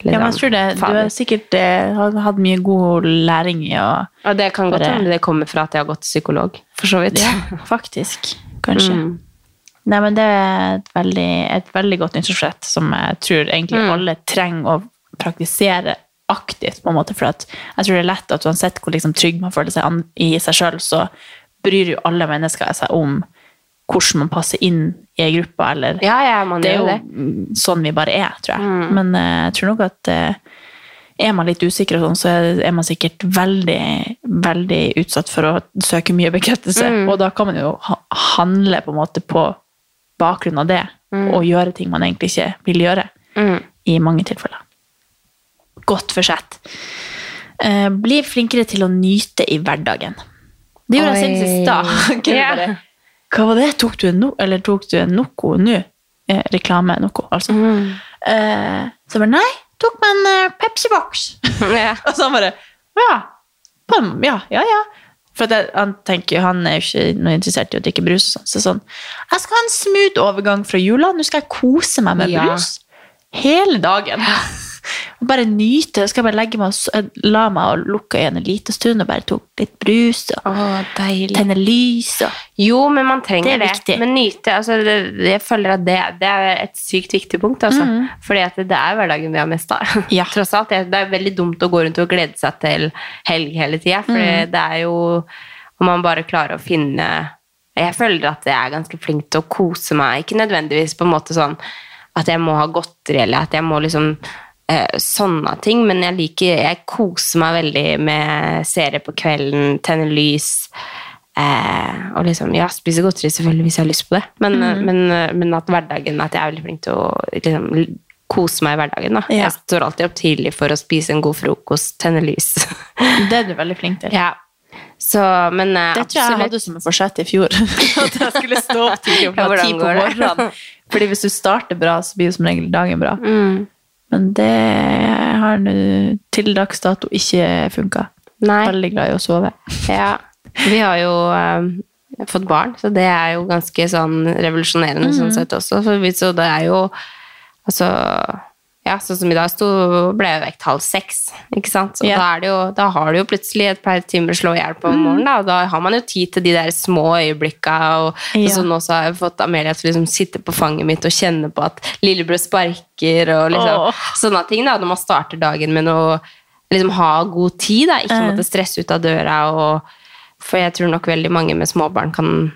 Eller Ja, men jeg sånn, tror det. Du fader. har sikkert eh, hatt mye god læring i å Og det kan godt Bare- hende det kommer fra at jeg har gått til psykolog, for så vidt. [laughs] [laughs] Faktisk, kanskje. Mm. Nei, men det er et veldig, et veldig godt nyttårsforsett som jeg tror egentlig alle trenger å praktisere aktivt, på en måte, for at jeg tror det er lett at uansett hvor liksom trygg man føler seg an- i seg sjøl, så bryr jo alle mennesker seg om hvordan man passer inn i ei gruppe, eller Ja, ja, man det er gjør jo det. Mm. mm, sånn vi bare er, tror jeg. Men eh, jeg tror nok at eh, er man litt usikker, og sånn, så er- er man sikkert veldig, veldig utsatt for å søke mye bekreftelse. Mm. Og da kan man jo ha- handle på en måte på bakgrunn av det, Mm. og gjøre ting man egentlig ikke vil gjøre. I mange tilfeller. Godt forsett. Eh, bli flinkere til å nyte i hverdagen. Det gjorde jeg Oi. siden sist da. [laughs] Kunne Ja. bare, Hva var det? Tok du en no, eller tok du en noe nå? Eh, reklame noe, altså. Eh, så jeg bare, nei, tok meg en eh, Pepsi-boks. Ja. [laughs] Og så han bare, ja, bam, ja, ja, ja. For at jeg, han tenker, jo, han er jo ikke noe interessert i å drikke brus. og Sånn. Så sånn, jeg skal ha en smooth overgang fra jula, nå skal jeg kose meg med Ja. brus. Hele dagen. [laughs] Og bare nyte, jeg skal bare legge meg, og s- eh, la meg og lukke øynene en liten stund, og bare tok litt brus, og tenne lys, og Jo, men man trenger Det det. er viktig. Men nyte altså, det, det- Jeg føler at det, det er et sykt viktig punkt. Altså. Fordi at det, det er hverdagen vi har mest av. Mm. [laughs] Ja. Tross alt. Det, det er veldig dumt å gå rundt og glede seg Mm. til helg hele tida. For det er jo om man bare klarer å finne Jeg føler at jeg er ganske flink til å kose meg. Ikke nødvendigvis på en måte sånn at jeg må ha godteri, eller at jeg må liksom eh, sånne ting, men jeg liker Jeg koser meg veldig med serier på kvelden, tenner lys. Eh, og liksom, ja, spiser godteri selvfølgelig hvis jeg har lyst på det, men, Mhm. men, men at hverdagen At jeg er veldig flink til å liksom, l- kose meg i hverdagen. Da. Ja. Jeg står alltid opp tidlig for å spise en god frokost, tenne lys. [laughs] Det er du veldig flink til. ja. Så, men eh, Det tror jeg jeg absolutt- hadde som et forsett i fjor. [laughs] At jeg skulle stå opp [laughs] tidlig og Ja, klokka hvordan ti på går det? morgenen. Fordi hvis du starter bra, så blir jo som regel dagen bra. Mm. Men det har nå til dags dato ikke funka. Nei. Veldig glad i å sove. Ja, vi har jo eh, fått barn, så det er jo ganske sånn revolusjonerende Mhm. sånn sett også. For vi, så det er jo Altså ja, sånn som i dag sto, ble jeg vekt halv seks. ikke sant? Og Ja. Mhm. da, er det jo, da har du jo plutselig et par timer slå i hjel på morgenen, da, og da har man jo tid til de der små øyeblikka. Og, Ja. og så nå så har jeg fått Amelia til å liksom sitte på fanget mitt og kjenne på at lillebror sparker, og liksom, Åh. sånne ting da, når man starter dagen med noe liksom ha god tid, da. ikke Mm. måtte stresse ut av døra. Og, for jeg tror nok veldig mange med småbarn kan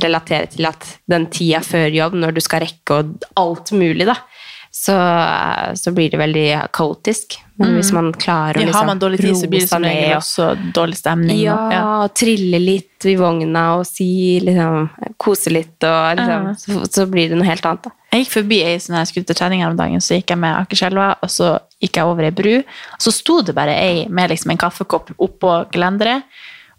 relatere til at den tida før jobb, når du skal rekke og alt mulig, da, så, så blir det veldig kaotisk. Men hvis man klarer å Mm. Ja, har man dårlig tid, så blir det som roe liksom seg regel ned og- også Mm. dårlig stemning. og- ja, og trille litt i vogna og si liksom, kose litt, og liksom, Ja. så, så blir det noe helt [laughs] annet. Da. Jeg gikk forbi ei sånn her skulle til trening her om dagen, så gikk jeg med Akerselva, og så gikk jeg over ei bru, og så sto det bare ei med liksom en kaffekopp oppå gelenderet,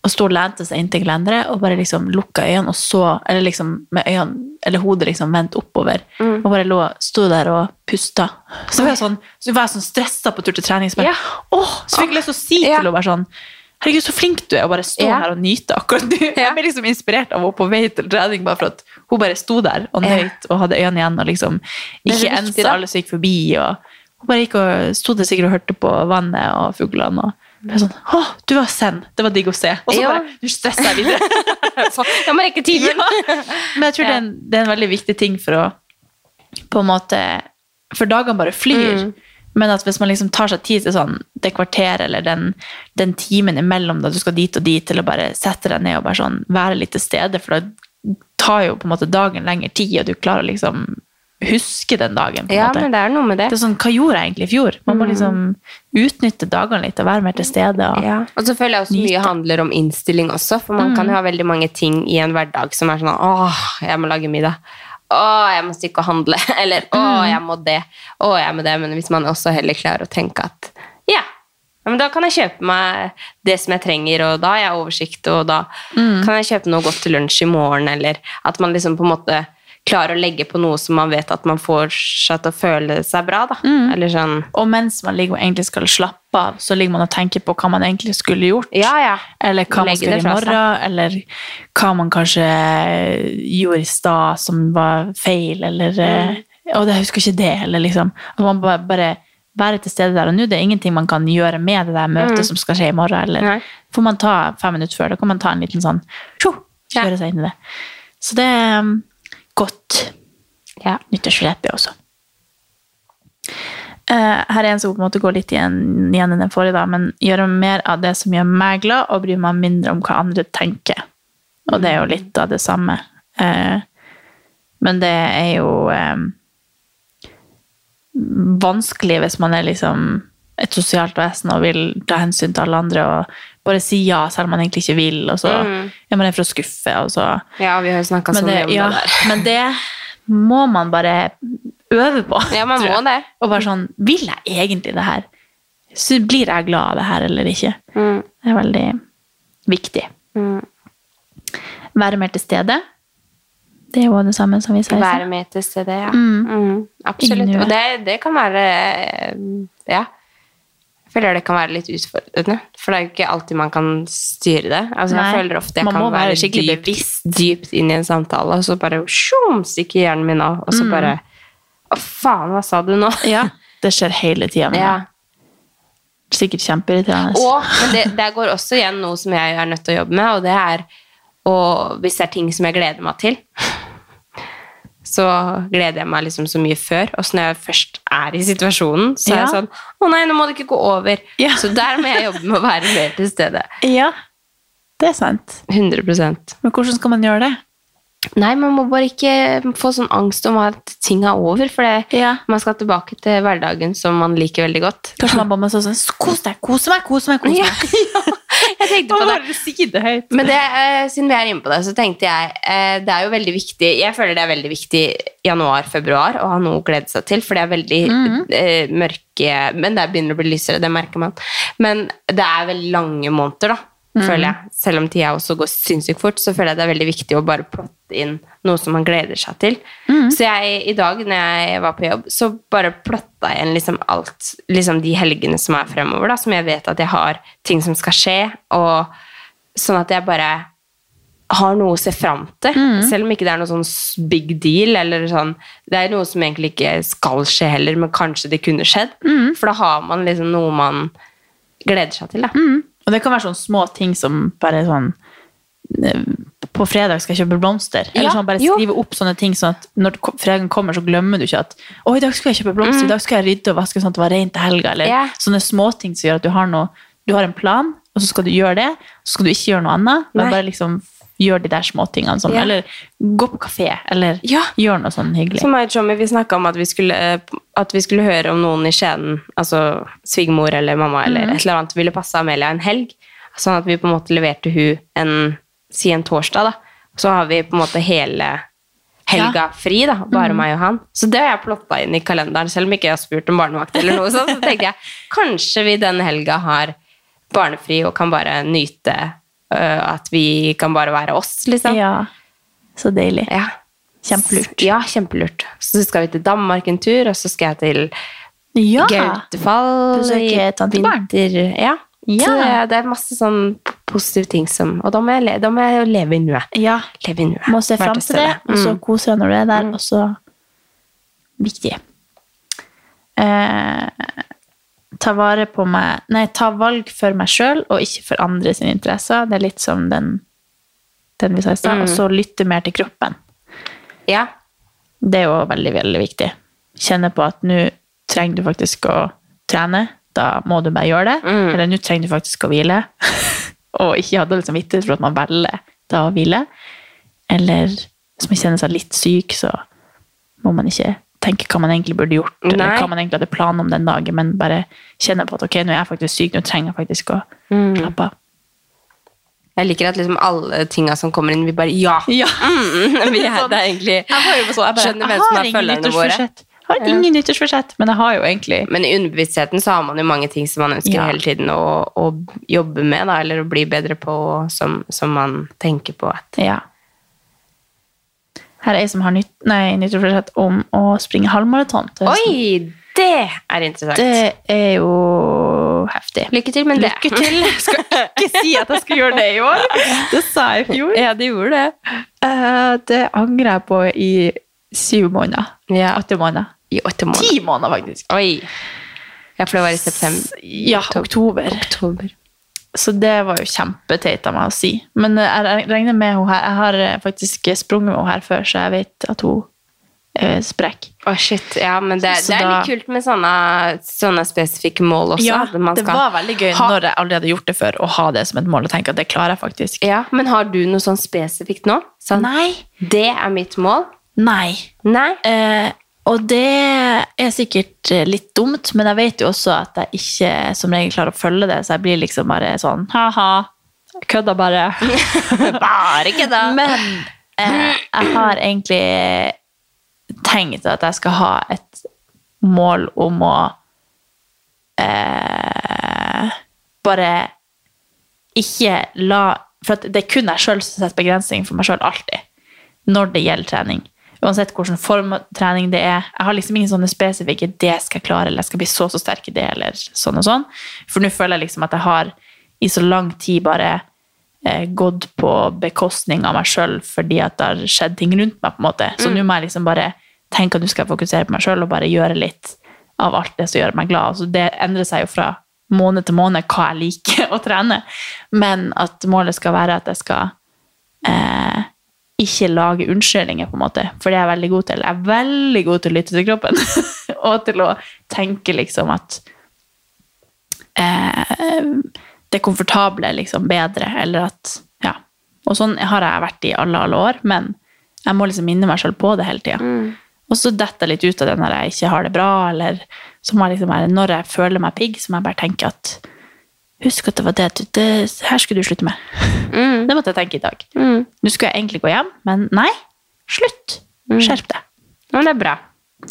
og sto og lente seg inntil gelenderet, og bare liksom lukka øynene, og så, eller liksom med øynene, eller hodet liksom vendt oppover, Mm. og bare lå, sto der og pusta. Så var jeg sånn, så var jeg sånn stressa på tur til trening, så bare, Ja. åh, så fikk jeg lyst til å si Ja. til henne bare sånn, Herregud, så flink du er å bare stå Ja. her og nyte akkurat nå. Jeg ble liksom inspirert av henne på vei til trening, bare for at hun bare sto der og Ja. nøyt og hadde øynene igjen og liksom er så ikke viktig, ensa da. alle som gikk forbi. Og hun bare gikk og sto der sikkert og hørte på vannet og fuglene. Og bare sånn, Å, du var send! Det var digg å se. Og så Mm. Ja. bare Nå stresser jeg videre. Jeg må rekke timen! Men jeg tror det, er en, det er en veldig viktig ting for å på en måte For dagene bare flyr. Mm. Men at hvis man liksom tar seg tid til sånn, det kvarteret eller den, den timen imellom da du skal dit og dit, til å bare sette deg ned og bare sånn, være litt til stede, for da tar jo på en måte dagen lengre tid, og du klarer å liksom huske den dagen. på en Ja, måte. men det Mm. er noe med det. Det er sånn, Hva gjorde jeg egentlig i fjor? Man må liksom utnytte dagene litt og være mer til stede. Og, Ja. Og så føler jeg også mye handler om innstilling også, for man Mm. kan jo ha veldig mange ting i en hverdag som er sånn åh, jeg må lage middag. Åh, jeg må stikke og handle. [laughs] Eller Mm. åh, jeg må det. Åh, jeg må det. Men hvis man også heller klarer å tenke at ja, ja, men da kan jeg kjøpe meg det som jeg trenger, og da har jeg oversikt, og da Mm. kan jeg kjøpe noe godt til lunsj i morgen, eller at man liksom på en måte klarer å legge på noe som man vet at man får seg til å føle seg bra, da. Mm. Eller sånn og mens man ligger og egentlig skal slappe av, så ligger man og tenker på hva man egentlig skulle gjort. Ja, ja. Eller hva man Legge skal det gjøre i fra seg. morgen, eller hva man kanskje gjorde i stad som var feil, eller eh, Mm. «Å, det- jeg husker ikke det, eller liksom. At man bare, bare være til stede der og nå. Det er ingenting man kan gjøre med det der møtet som skal skje i morgen. Mm. Nei. Eller får man ta fem minutter før, da kan man ta en liten sånn tjo, Ja. kjøre seg inn i det. Så det er um, godt Ja. nyttårsforrett, det også. Eh, her er en som på en måte går litt igjen, igjen enn den forrige, da, men gjøre mer av det som gjør meg glad, og bry meg mindre om hva andre tenker. Og det er jo litt av det samme. Eh, men det er jo eh, vanskelig hvis man er liksom et sosialt vesen og vil ta hensyn til alle andre og bare si ja selv om man egentlig ikke vil, og så er man redd for å skuffe, og så Ja, vi har jo snakka så men mye det, om ja, Altså, det der. [laughs] men det må man bare øve på. Ja, man tror jeg. må det. Og bare sånn Vil jeg egentlig det her? Så blir jeg glad av det her eller ikke? Det er veldig viktig. Mm. Være mer til stede. Det er jo det samme som vi sa i Være stad. med til stede, ja. Mm. Mm, absolutt. Inni Og det, det kan være eh, Ja. Jeg føler det kan være litt utfordrende, for det er jo ikke alltid man kan styre det. Altså, jeg Nei, føler ofte jeg man kan må være være skikkelig dypt, dypt inn i en samtale, og så bare sjum, stikker hjernen min av, Mm. og så bare Å, faen, hva sa du nå? Ja, [laughs] det skjer hele tida. [laughs] Ja. Sikkert kjempeirriterende. Og, men det, der går også igjen noe som jeg er nødt til å jobbe med, og det er å- hvis det er ting som jeg gleder meg til, så gleder jeg meg liksom så mye før. Og så når jeg først er i situasjonen, så er jeg Ja. sånn Å nei, nå må det ikke gå over. Ja. Så der må jeg jobbe med å være mer til stede. Ja, det er sant. 100 Men hvordan skal man gjøre det? Nei, man må bare ikke få sånn angst om at ting er over, for det, man skal tilbake til hverdagen som man liker veldig godt. Kanskje man bare må sånn Kos deg, kos meg, kos meg, kos meg. Jeg tenkte [laughs] på det. Men det, eh, siden vi er inne på det, så tenkte jeg eh, det er jo veldig viktig Jeg føler det er veldig viktig januar-februar å ha noe å glede seg til, for det er veldig Mhm. eh, mørke Men det begynner å bli lysere, det merker man. Men det er veldig lange måneder, da, Mhm. føler jeg. Selv om tida også går sinnssykt fort, så føler jeg det er veldig viktig å bare plotte inn noe som man gleder seg til. Mhm. Så jeg, i dag når jeg var på jobb, så bare plotta jeg inn liksom alt, liksom de helgene som er fremover, da, som jeg vet at jeg har ting som skal skje, og sånn at jeg bare har noe å se fram til, selv om ikke det er noe sånn s- big deal, eller sånn, det er noe som egentlig ikke skal skje heller, men kanskje det kunne skjedd, for da har man liksom noe man gleder seg til, da. Og det kan være sånne små ting som bare sånn eh, På fredag skal jeg kjøpe blomster. Eller Ja, sånn bare jo. skrive opp sånne ting, sånn at når ko- fredagen kommer, så glemmer du ikke at Å, i dag skal jeg kjøpe blomster, i dag skal jeg rydde og vaske sånn at det var rent til helga. Eller Mm. Ja. sånne småting som gjør at du har noe Du har en plan, og så skal du gjøre det, så skal du ikke gjøre noe annet. Men Nei. bare liksom gjør de der småtingene. Sånn. Ja. Eller gå på kafé, eller Ja. gjør noe sånn hyggelig. Så meg og Tommy, vi snakket om at vi, skulle, eh, at vi skulle høre om noen i Skjeden, altså svigmor eller mamma eller Mhm. et eller annet, ville passe Amelia en helg. Sånn at vi på en måte leverte hun en, si en torsdag da. Så har vi på en måte hele helga fri da, bare Mhm. meg og han. Så det har jeg plotta inn i kalenderen, selv om ikke jeg har spurt om barnevakt eller noe sånt. Så tenkte jeg, kanskje vi den helga har barnefri og kan bare nyte øh, at vi kan bare være oss, liksom. Ja. Så deilig. Ja. Kjempelurt. Ja, kjempelurt. Så skal vi til Danmark en tur, og så skal jeg til Ja! Gautefall. Besøke i tante Barn. vinter- Ja. Ja. Så det, er- det er masse sånn positive ting som Og da må jeg, le- da må jeg jo leve i nuet. Ja. Leve i nuet. Må se fram Være til det, stede. og så Mm. kose deg når du er der, og så Viktig. Eh, ta vare på meg Nei, ta valg for meg sjøl og ikke for andre sine interesser. Det er litt som den, den vi sa i Mm. stad. Og så lytte mer til kroppen. Ja. Det er jo veldig, veldig viktig. Kjenne på at nå trenger du faktisk å trene. Da må du bare gjøre det. Mm. Eller nå trenger du faktisk å hvile. og ikke ha dårlig samvittighet for at man velger da å hvile. Eller hvis man kjenner seg litt syk, så må man ikke tenke hva man egentlig burde gjort, eller Nei. hva man egentlig hadde plan om den dagen, men bare kjenne på at ok, nå er jeg faktisk syk, nå trenger jeg faktisk å slappe av. Jeg liker at liksom alle tinga som kommer inn, vi bare [laughs] Ja! Mm, [laughs] vi er, det er sånn. egentlig Skjønner hvem som er følgerne våre. Jeg har ingen nyttårsforsett, men jeg har jo egentlig Men i underbevisstheten så har man jo mange ting som man ønsker Ja. hele tiden å, å jobbe med, da, eller å bli bedre på, som, som man tenker på at Ja. Her er ei som har nytt, nei, nyttårsforsett om å springe halvmaraton. til høsten. Oi, det er interessant. Det er jo heftig. Lykke til med det. Lykke til! Jeg skal ikke si at jeg skal gjøre det i år. Det sa jeg i fjor. Ja, du gjorde det. Eh, Det angrer jeg på i syv måneder. [laughs] Ja. Åtte måneder. I åtte måneder. Ti måneder, faktisk. Oi. Jeg pleier å være i september. Ja, oktober. Oktober. Så det var jo kjempeteit av meg å si. Men eh, jeg regner med henne her. Jeg har eh, faktisk sprunget med henne her før, så jeg vet at hun eh, er sprekk. Å, shit. Ja, men det, Så det er da- litt kult med sånne, sånne spesifikke mål også. Ja, at man det skal- var veldig gøy ha- når jeg aldri hadde gjort det før, å ha det som et mål og tenke at det klarer jeg faktisk. Ja, men har du noe sånn spesifikt nå? Sånn, Nei. Det er mitt mål. Nei. Nei. Eh, og det er sikkert eh, litt dumt, men jeg vet jo også at jeg ikke som regel klarer å følge det, så jeg blir liksom bare sånn ha-ha, kødda bare. Bare ikke da. [laughs] Men eh, jeg har egentlig tenkt at jeg skal ha et mål om å eh, bare ikke la For at det er kun jeg sjøl som setter begrensning for meg sjøl alltid. Når det gjelder trening. Uansett hvilken form av trening det er. Jeg har liksom ingen sånne spesifikke 'det skal jeg klare', eller 'jeg skal bli så så sterk i det', eller sånn og sånn. For nå føler jeg liksom at jeg har i så lang tid bare eh, gått på bekostning av meg sjøl fordi at det har skjedd ting rundt meg. på en måte. Så nå må jeg liksom bare tenke at nå skal jeg fokusere på meg sjøl og bare gjøre litt av alt det som gjør meg glad. Så det endrer seg jo fra [laughs] måned til måned hva jeg liker å trene. Men at målet skal være at jeg skal eh, ikke lage unnskyldninger, på en måte. For det er jeg veldig god til. Jeg er veldig god til å lytte til kroppen. [laughs] og til å tenke liksom at eh, det komfortable liksom bedre, eller at, ja. Og sånn har jeg vært i alle, alle år, men Jeg må liksom minne meg sjøl på det hele tida. Og så detter jeg litt ut av det når jeg ikke har det bra, eller så må jeg liksom være, når jeg føler meg pigg, så må jeg bare tenke at Husk at det var det, du, det her skulle du slutte med. Det måtte jeg tenke i dag. Nå skulle jeg egentlig gå hjem, men nei. Slutt! Skjerp deg. Men det er [laughs] bra.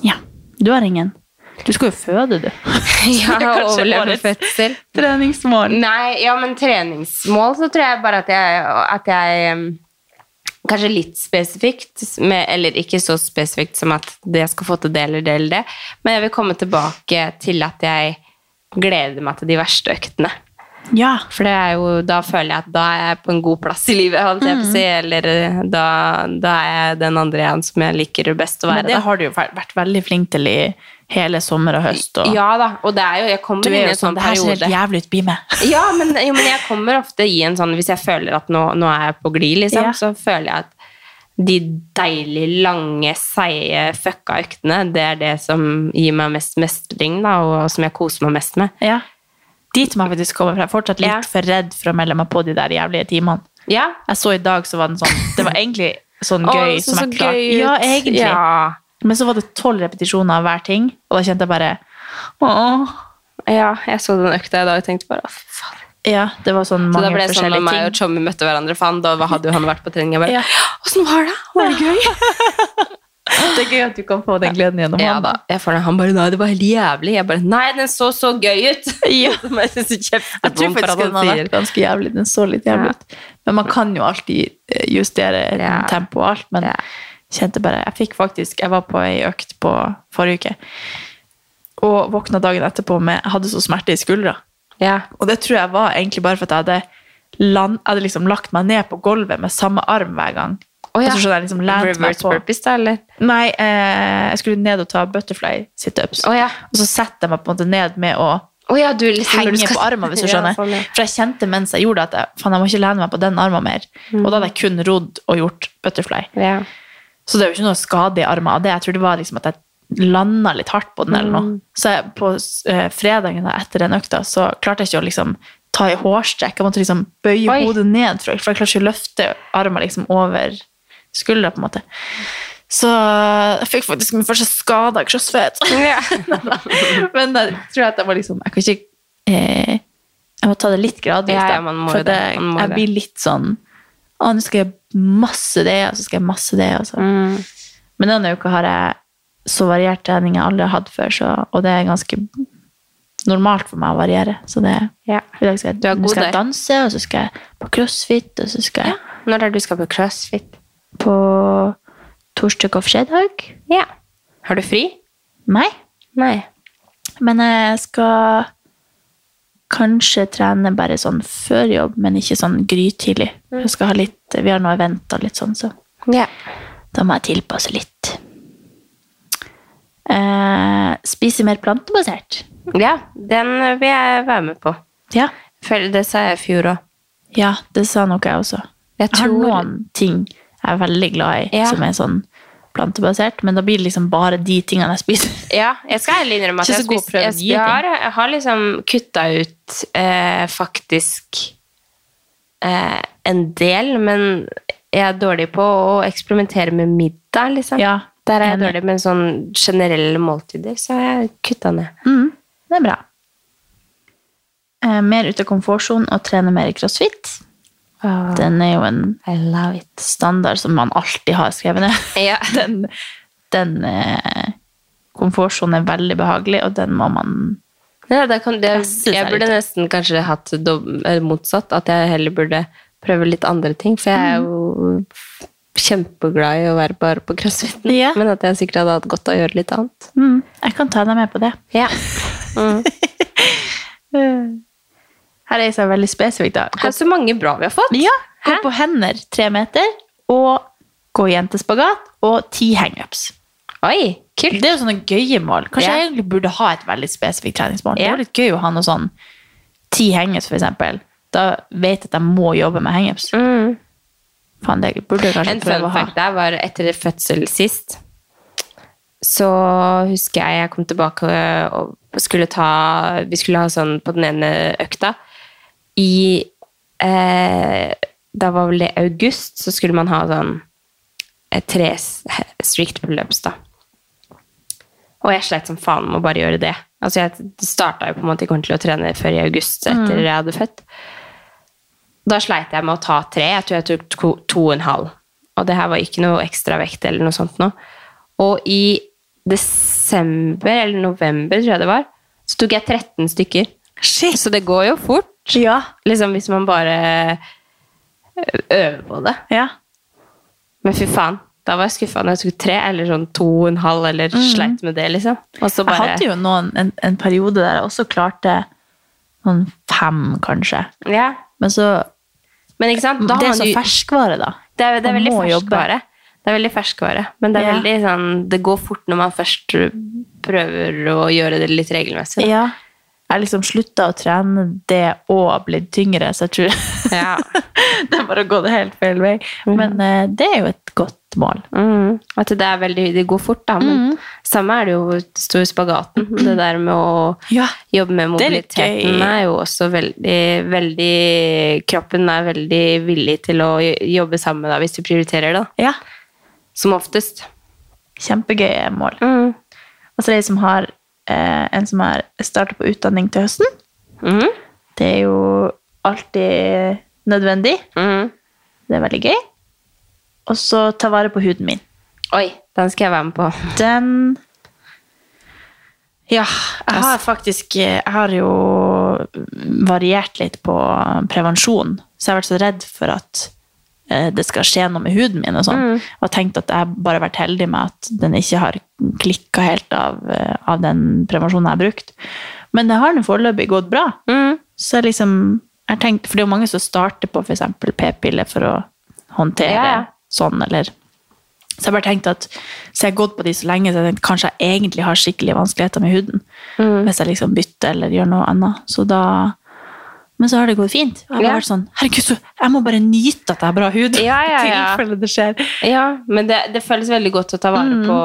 Ja. Du har ingen. Du skal jo føde, du. [laughs] Ja, Det er kanskje overleve årets fødsel. Treningsmål. Nei, ja, men treningsmål så tror jeg bare at jeg, at jeg um, Kanskje litt spesifikt, med, eller ikke så spesifikt som at det jeg skal få til det eller det eller det, men jeg vil komme tilbake til at jeg gleder meg til de verste øktene. [laughs] Ja. For det er jo, da føler jeg at da er jeg på en god plass i livet, holdt Mm. jeg på å si. Eller eh, da, da er jeg den andre igjen som jeg liker best å Men være. det da. har du jo vært- vært veldig flink til i hele sommer og høst. Og Ja da, og det er jo, jeg kommer du er inn i jo en sånn sånn Det her ser periode. helt jævlig ut, bli med. Ja, men, jo, men jeg kommer ofte i en sånn Hvis jeg føler at nå, nå er jeg på glid, liksom, Ja. så føler jeg at de deilig lange, seige, fucka øktene, det er det som gir meg mest mestring, da, og som jeg koser meg mest med. Ja. Dit må jeg faktisk komme fra. Jeg er Fortsatt litt Ja. for redd for å melde meg på de der jævlige timene. Ja. Jeg så i dag, så var den sånn Det var egentlig [laughs] sånn Å, gøy det så som så jeg klarte. gøy ut. Ja, egentlig. Ja. Men så var det tolv repetisjoner av hver ting, og da kjente jeg bare Åh. ja, jeg så den økta i dag og tenkte bare «Å, fy faen. Ja, det var Så sånn da mange ble det sånn når forskjellige meg og ting. Tommy møtte hverandre, faen, da hadde jo han vært på trening. Jeg bare Ja. Åssen var det? Var det gøy? [laughs] Det er gøy at du kan få den gleden gjennom Ja han. da. Jeg får det. Han bare Nei, det var helt jævlig. Jeg bare Nei, den så så gøy [laughs] ut! Ja. Som jeg synes er Jeg tror kjempebom for faktisk at at den han har sier. vært ganske jævlig. Den så litt jævlig Ja. ut. Men man kan jo alltid eh, justere Ja. tempo og alt. Men Ja. kjente bare Jeg fikk faktisk Jeg var på ei økt på forrige uke. Og våkna dagen etterpå med Jeg hadde så smerte i skuldra. Ja. Og det tror jeg var egentlig bare for at jeg hadde land, jeg hadde liksom lagt meg ned på gulvet med samme arm hver gang. Å, ja. Og så skjønner jeg liksom lent meg Reverse på. purpose, da, eller? Nei, eh, jeg skulle ned og ta butterfly situps. Å, ja. Og så setter jeg meg på en måte ned med å Å ja, du liksom når du henge skal- på armen, hvis du [laughs] Ja, skjønner. sånn, ja. For jeg kjente mens jeg gjorde det at jeg, faen, jeg må ikke lene meg på den armen mer. Og da hadde jeg kun rodd og gjort butterfly. Ja. Så det er jo ikke noe skade i armen av det. Jeg tror det var liksom at jeg landa litt hardt på den eller Mm. noe. Så jeg, på eh, fredagen da, etter den økta, så klarte jeg ikke å liksom ta i hårstrekk. Jeg måtte liksom bøye Oi. hodet ned, for, for jeg klarte ikke å løfte armen liksom over skuldra, på en måte. Så jeg fikk faktisk min første skade av crossfit. [laughs] [laughs] Men jeg tror at jeg var liksom Jeg kan ikke eh, Jeg må ta det litt gradvis, Ja, ja, da. man må for jo at det, jeg, man må jeg det. blir litt sånn Å, nå skal jeg masse det, og så skal jeg masse det, og så Mm, men denne uka har jeg så variert trening jeg aldri har hatt før, så, og det er ganske normalt for meg å variere. Så det, Ja. i dag skal jeg, Du er nå god skal jeg der. danse, og så skal jeg på crossfit, og så skal jeg Når er det du skal på crossfit? på torsdag og fredag. Ja. Har du fri? Nei, Nei. men jeg skal kanskje trene bare sånn før jobb, men ikke sånn grytidlig. Mm. Jeg skal ha litt, vi har noe event og litt sånn, så Ja. da må jeg tilpasse litt. Eh, spise mer plantebasert. ja. Den vil jeg være med på. Ja. Føler det sa jeg i fjor òg. Ja, det sa nok jeg også. Jeg, Jeg har tror- noen ting jeg er veldig glad i, Ja. som er sånn plantebasert, men da blir det liksom bare de tingene jeg spiser. [laughs] Ja, jeg skal ærlig innrømme at Ikke jeg, så god spist- prøve jeg, nye jeg, har, jeg har liksom kutta ut eh, faktisk eh, en del, men jeg er dårlig på å eksperimentere med middag, liksom. Ja, Der er jeg enig. dårlig, men sånn generelle måltider så har jeg kutta ned. Mm, det er bra. Eh, mer ut av komfortsonen og trene mer i crossfit. Den er jo en Ah. I love it. standard som man alltid har skrevet ned. Ja. Den, den eh, komfortsonen er veldig behagelig, og den må man [laughs] Ja, da kan, det, Jeg synes det er jeg burde litt- nesten kanskje hatt dob- eller motsatt, at jeg heller burde prøve litt andre ting, for jeg Mm. er jo kjempeglad i å være bare på crossfiten, Ja. men at jeg sikkert hadde hatt godt av å gjøre litt annet. mm, Jeg kan ta deg med på det. Ja. Mm. [laughs] Her er jeg så veldig spesifikk, da. Her er så mange bra vi har fått. Ja, gå på hender tre meter, og gå i jentespagat, og ti hangups. Oi, kult. Det er jo sånne gøye mål. Kanskje Ja. jeg egentlig burde ha et veldig spesifikt treningsmål. Det Ja. er jo litt gøy å ha noe sånn ti hangups, for eksempel. Da vet jeg at jeg må jobbe med hangups. Faen, det burde Mm. jeg kanskje Mm. En fun prøve å ha. fact der var etter fødsel sist, så husker jeg jeg kom tilbake og skulle ta Vi skulle ha sånn på den ene økta. I eh, Da var vel det august, så skulle man ha sånn eh, tre s- strict pull-ups, da. Og jeg sleit som faen med å bare gjøre det. Altså, jeg starta jo på en måte ikke ordentlig å trene før i august etter Mm. jeg hadde født. Da sleit jeg med å ta tre. Jeg tror jeg tok to, to og en halv. Og det her var ikke noe ekstra vekt eller noe sånt nå. Og i desember eller november, tror jeg det var, så tok jeg 13 stykker. Så det går jo fort. Liksom hvis man bare eh, øver på det. Men fy faen, da var jeg skuffa når jeg tok tre, eller sånn to og en halv, eller Mm. sleit med det, liksom. Og så Jeg bare hadde jo noen, en, en periode der jeg også klarte sånn fem, kanskje. Ja. Men så Men ikke sant? Da Det har er man så jo- ferskvare, da. Det er, det er Man veldig må jobbe. ferskvare. Det er veldig ferskvare. Men det er Ja. veldig sånn Det går fort når man først prøver å gjøre det litt regelmessig. da. Ja. Jeg liksom slutta å trene det og blitt tyngre, så jeg tror [laughs] det er bare å gå det helt feil vei. Men eh, det er jo et godt mål. Mm. At det, er veldig, det går fort, da. Men Mm. samme er det jo stor spagaten. Det der med å Mhm. Ja. jobbe med Det er litt mobiliteten gøy. er, jo også veldig, veldig Kroppen er veldig villig til å jobbe sammen da, hvis du prioriterer det. da. ja. Som oftest. Kjempegøye mål. Mm. Og så er det en som har, eh, en som har startet på utdanning til høsten. Mhm. Det er jo alltid nødvendig. Mhm. Det er veldig gøy. Og så ta vare på huden min. Oi, den skal jeg være med på. Den Ja, jeg har faktisk Jeg har jo variert litt på prevensjon. Så jeg har vært så redd for at eh, det skal skje noe med huden min og sånn. Mm. Og tenkt at jeg bare har vært heldig med at den ikke har klikka helt av, eh, av den prevensjonen jeg har brukt. Men det har nå foreløpig gått bra. Mm. Så jeg liksom jeg har tenkt, For det er jo mange som starter på f.eks. p-piller for å håndtere Ja, ja. sånn, eller så jeg bare tenkte at, så jeg har gått på de så lenge, så jeg tenkte kanskje jeg egentlig har skikkelig vanskeligheter med huden. Mm. Hvis jeg liksom bytter eller gjør noe annet. Så da, men så har det gått fint. Og jeg har Ja. vært sånn, herregud, så jeg må bare nyte at jeg har bra hud. Ja, ja, [laughs] i ja. tilfelle det skjer. Ja, men det, det føles veldig godt å ta vare på,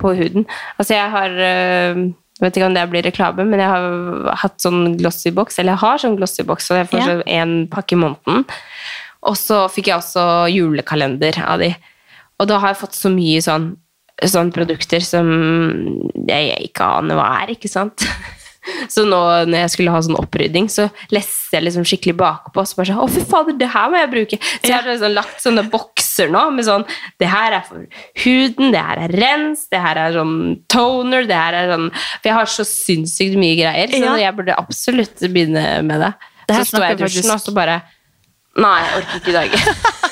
på huden. Altså, jeg har øh, Jeg vet ikke om det blir reklame, men jeg har hatt sånn glossy box, eller jeg har sånn glossy box, og jeg får Ja. sånn én pakke i måneden. Og så fikk jeg også julekalender av de. Og da har jeg fått så mye sånn sånne produkter som jeg, jeg ikke aner hva er, ikke sant? [laughs] Så nå når jeg skulle ha sånn opprydding, så leste jeg liksom skikkelig bakpå. Så bare sånn, å fy fader, det her må jeg bruke. Så jeg har liksom lagt sånne bokser nå med sånn, det her er for huden, det her er rens, det her er sånn toner, det her er sånn, for jeg har så sinnssykt mye greier, så Ja. jeg burde absolutt begynne med det. Det her så står jeg i snakker dusjen, faktisk- og så bare, nei, jeg orker ikke i dag.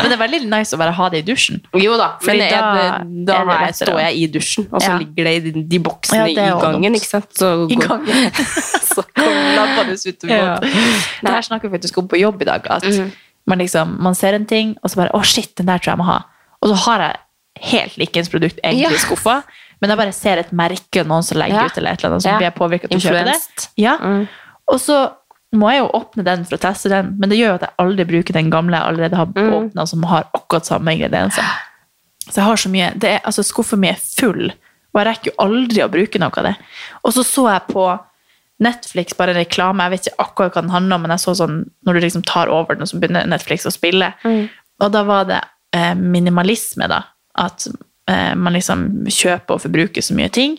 Men det er veldig nice å bare ha det i dusjen. Jo da, men Fordi jeg, da da, da er det har jeg, lettere. står jeg i dusjen, og så Ja. ligger det i de, de boksene Ja, det er i jo gangen, dumt. ikke sant? Så I går- gangen. [laughs] så kommer labbene ut i Ja. båten. Det her snakker vi faktisk om på jobb i dag. At Mhm. man, liksom, man ser en ting, og så bare 'Å, shit, den der tror jeg jeg må ha'. Og så har jeg helt likens produkt Ja. egentlig i skuffa, men jeg bare ser et merke noen som legger Ja. ut, eller et eller annet, som Ja. blir jeg påvirket til å kjøpe det. Influenced. Mm. Ja. Og så må jeg jo åpne den for å teste den, men det gjør jo at jeg aldri bruker den gamle jeg allerede har åpnet Mm. åpna, som har akkurat samme ingredienser. Så jeg har så mye, det er, altså Skuffen min er full, og jeg rekker jo aldri å bruke noe av det. Og så så jeg på Netflix bare en reklame, jeg vet ikke akkurat hva den handler om, men jeg så sånn, når du liksom tar over den, og så begynner Netflix å spille. Og da var det eh, minimalisme, da. At eh, man liksom kjøper og forbruker så mye ting,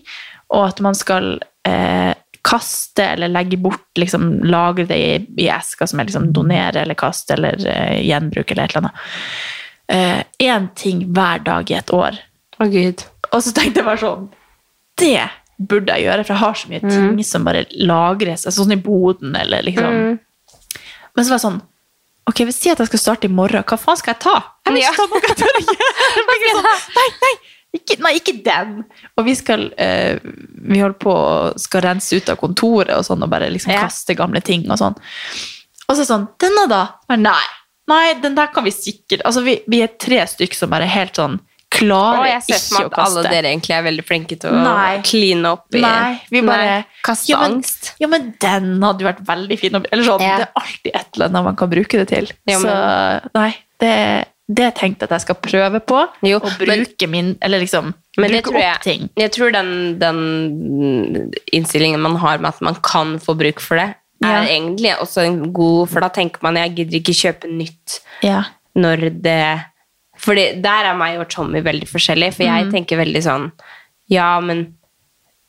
og at man skal eh, kaste eller legge bort, liksom lagre det i, i esker som er liksom donere eller kaste eller eh, gjenbruke eller et eller annet én ting hver dag i et år. Å, Gud. Og så tenkte jeg bare sånn Det burde jeg gjøre, for jeg har så mye Mm. ting som bare lagres. Altså sånn i boden eller liksom. Men så var jeg sånn Ok, hvis jeg sier at jeg skal starte i morgen, hva faen skal jeg ta? Jeg vil ikke ta noe jeg tør [laughs] å gjøre. Jeg blir sånn, Nei, nei, ikke, nei, ikke den. Og vi skal eh, vi holder på og skal rense ut av kontoret og sånn, og bare liksom Ja. kaste gamle ting og sånn. Og så sånn, denne da? Men nei, nei, den der kan vi sikkert. Altså, vi, vi er tre stykk som bare helt sånn Og klarer jeg ser for meg ikke å at alle kaste. dere egentlig er veldig flinke til å Nei. kline opp i Nei, vi bare Nei, kaste ja, men, angst. Ja, men den hadde jo vært veldig fin. å- Eller sånn, Ja. Det er alltid et eller annet man kan bruke det til. Ja, men- Så nei, det, det jeg tenkte at jeg skal prøve på. Jo, og men- bruke min Eller liksom Men det bruke tror opp jeg, ting. jeg tror den, den innstillingen man har med at man kan få bruk for det, er Ja. egentlig også en god For da tenker man jeg gidder ikke kjøpe nytt Ja. når det Fordi der er meg og Tommy veldig forskjellige, for jeg Mhm. tenker veldig sånn Ja, men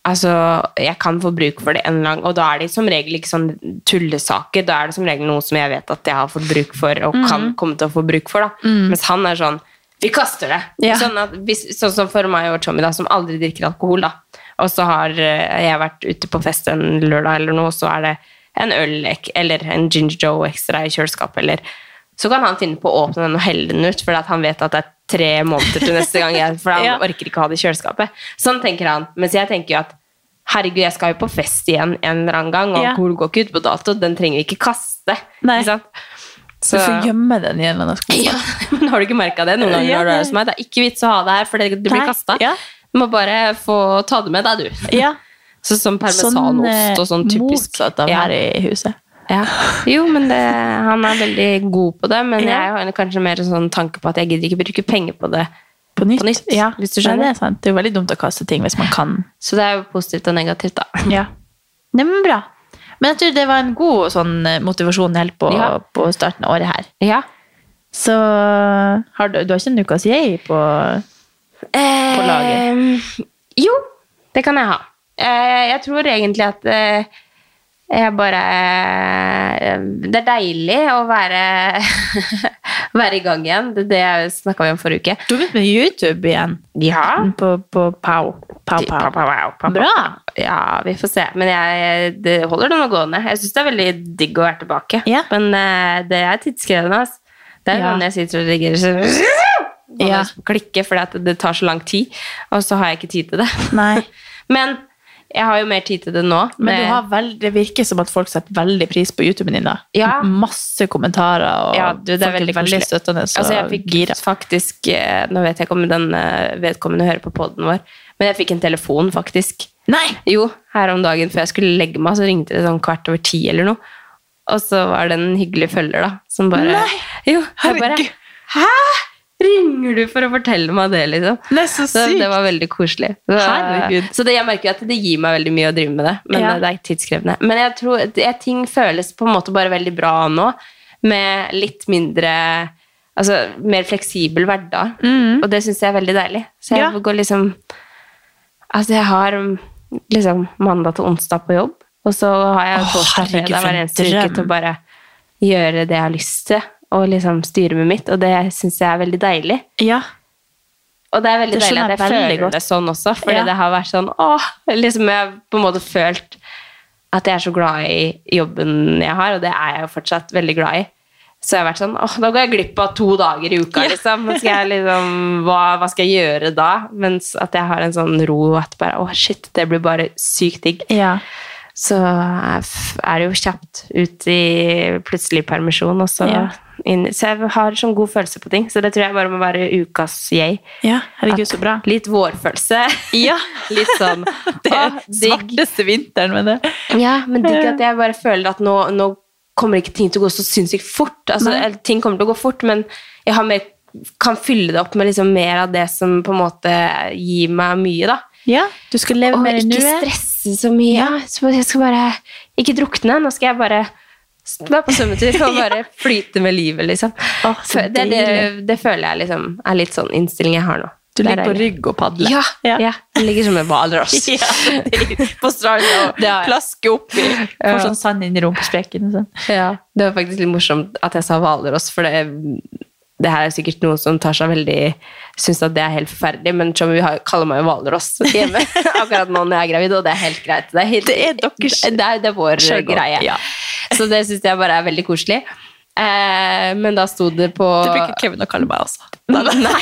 altså Jeg kan få bruk for det en eller annen Og da er det som regel ikke sånn tullesaker. Da er det som regel noe som jeg vet at jeg har fått bruk for, og kan Mhm. komme til å få bruk for. da Mhm. Mens han er sånn Vi kaster det! Ja. Sånn, at, hvis, sånn som for meg og Tommy, da, som aldri drikker alkohol. da Og så har eh, jeg vært ute på fest en lørdag eller noe, og så er det en øl ek- eller en Ginger Joe ekstra i kjøleskapet, eller så kan han finne på å åpne den og helle den ut, fordi at han vet at det er tre måneder til neste gang. Jeg, for [laughs] han Ja. orker ikke å ha det i kjøleskapet. Sånn tenker han. Mens jeg tenker jo at herregud, jeg skal jo på fest igjen en eller annen gang, og Ja. alkohol går ikke ut på dato, den trenger vi ikke kaste. Nei. Ikke sant? Så du får gjemme den i en eller annen skole. Ja, [laughs] men har du ikke merka det noen ganger Ja, når du er nei. hos meg? Det er ikke vits å ha det her, for det, det blir Nei, kasta. ja. Du må bare få ta det med deg, du. Ja. [laughs] Så, sånn Sånn eh, parmesanost og sånn typisk. motsatt av Ja. her i huset. Ja. Jo, men det, han er veldig god på det, men Ja. jeg har kanskje mer sånn tanke på at jeg gidder ikke bruke penger på det. På nytt. På nytt, Ja. hvis du Nei, skjønner. det, er sant. det er jo veldig dumt å kaste ting hvis man kan. Så det er jo positivt og negativt, da. Ja. Nei, men bra. Men jeg tror det var en god sånn, motivasjon helt på, Ja. på starten av året her. Ja. Så har du, du har ikke en ukas yay på På laget. Jo, det kan jeg ha. Eh, Jeg tror egentlig at eh, jeg bare eh, Det er deilig å være, [laughs] være i gang iggen. Det, det snakka vi om forrige uke. Du har begynt med YouTube igjen. Ja. På, på Pow. Pow, Pow, Pow. pow, pow, pow. Bra! Ja, vi får se. Men jeg, det holder det nå gående. Jeg syns det er veldig digg å være tilbake. Ja. Men eh, det er tidskrevende. ass. Det er Ja. jo når jeg sitter og redigerer så og [laughs] Ja. klikker, fordi at det tar så lang tid. Og så har jeg ikke tid til det. Nei. [laughs] Men jeg har jo mer tid til det nå. Men du Det- har veld, det virker som at folk setter veldig pris på YouTuben din. da. Ja. Masse kommentarer. Og Ja, du, det er folk veldig koselig. støttende og altså, jeg fikk gira. faktisk eh, Nå vet jeg ikke om den eh, vedkommende hører på poden vår, men jeg fikk en telefon, faktisk. Nei! Jo, her om dagen før jeg skulle legge meg, så ringte det sånn kvart over ti eller noe. Og så var det en hyggelig følger, da, som bare Nei! Jo, jeg bare Herregud. Hæ? Ringer du for å fortelle meg det, liksom? Nei, så Så sykt! det var veldig koselig. Så, Herregud. så det, jeg merker jo at det gir meg veldig mye å drive med det, men Ja. det er tidskrevende. Men jeg tror det, ting føles på en måte bare veldig bra nå, med litt mindre Altså mer fleksibel hverdag, og det syns jeg er veldig deilig. Så jeg Mm. Ja. går liksom Altså, jeg har um, liksom mandag til onsdag på jobb, og så har jeg Åh, torsdag herregud, og fredag for hver en eneste uke drøm. til å bare gjøre det jeg har lyst til, og liksom styre med mitt, og det syns jeg er veldig deilig. Ja. Og det er veldig Det deilig at skjønner jeg jeg veldig føler godt. det sånn også, fordi Ja. det har vært sånn åh, liksom Jeg har på en måte følt at jeg er så glad i jobben jeg har, og det er jeg jo fortsatt veldig glad i. Så jeg har vært sånn åh, da går jeg glipp av to dager i uka, liksom. Nå Skal jeg liksom hva, hva skal jeg gjøre da? Mens at jeg har en sånn ro at bare åh, shit, det blir bare sykt digg. ja. Så er f- er det jo kjapt ut i plutselig permisjon, og så Ja. inn Så jeg har sånn god følelse på ting, så det tror jeg bare må være ukas yay. Ja, herregud, At så bra. Litt vårfølelse. Ja. [laughs] Litt sånn [laughs] Det er liksom. «Åh, digg. svarteste vinteren med det. Ja, men digg at jeg bare føler at nå, nå kommer ikke ting til å gå så sinnssykt fort. Altså, Nei. eller ting kommer til å gå fort, men jeg har mer, kan fylle det opp med liksom mer av det som på en måte gir meg mye, da. Ja, du skal leve Og mer i ikke nuet. stresse så mye. Så jeg skal bare ikke drukne. Nå skal jeg bare være på svømmetur [laughs] og bare flyte med livet, liksom. Åh, så det, det, deilig. det føler jeg liksom er litt sånn innstilling jeg har nå. Du Det er ligger på deilig. rygg og padler. Ja, Ja. ja. Jeg ligger som en [laughs] hvalross. Ja, på stranda og Plaske oppi. Får sånn sand inn i rumpesprekken. [laughs] og Sånn. Ja, det var faktisk litt morsomt at jeg sa hvalross, for det, det her er sikkert noen som tar seg veldig Syns at det er helt forferdelig, men Tommy har- kaller meg jo hvalross [laughs] hjemme akkurat nå når jeg er gravid, og det er helt greit. Det er, helt, Det er deres- det er, det er vår Sjøgård, greie. ja. Så det syns jeg bare er veldig koselig. Eh, men da sto det på Det bruker Kevin å kalle meg også. Nei.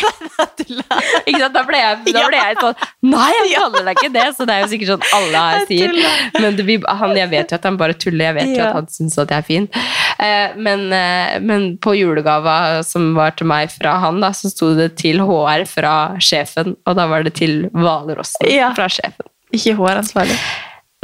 Ikke sant? Da ble jeg, da ble jeg sånn Nei, jeg kaller deg ikke det! Så det er jo sikkert sånn alle her sier. Men det, vi- han, jeg vet jo at han bare tuller. Jeg vet jo Ja. at han syns at jeg er fin. Eh, men, eh, men på julegava som var til meg fra han, da, så sto det til HR fra sjefen. Og da var det til Hvalrossen Ja. fra sjefen. Ikke håransvarlig.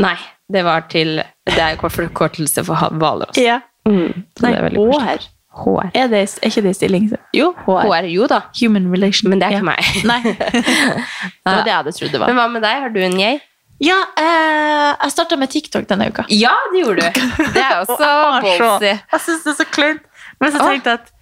Nei, det var til Det er kort forkortelse for han- Hvalross. Ja. Så Nei, det er veldig kostig. HR. HR. Er, det, er ikke det stilling? Jo, HR. HR. Jo da. Human relation. Men det er Ja. ikke meg. [laughs] Nei. Det var det jeg hadde trodd det var. Men hva med deg? Har du en yay? Ja, eh, jeg starta med TikTok denne uka. Ja, det gjorde du. Det [laughs] er også Og jeg var så- ballsy. Jeg syns det er så kleint. Men så tenkte jeg at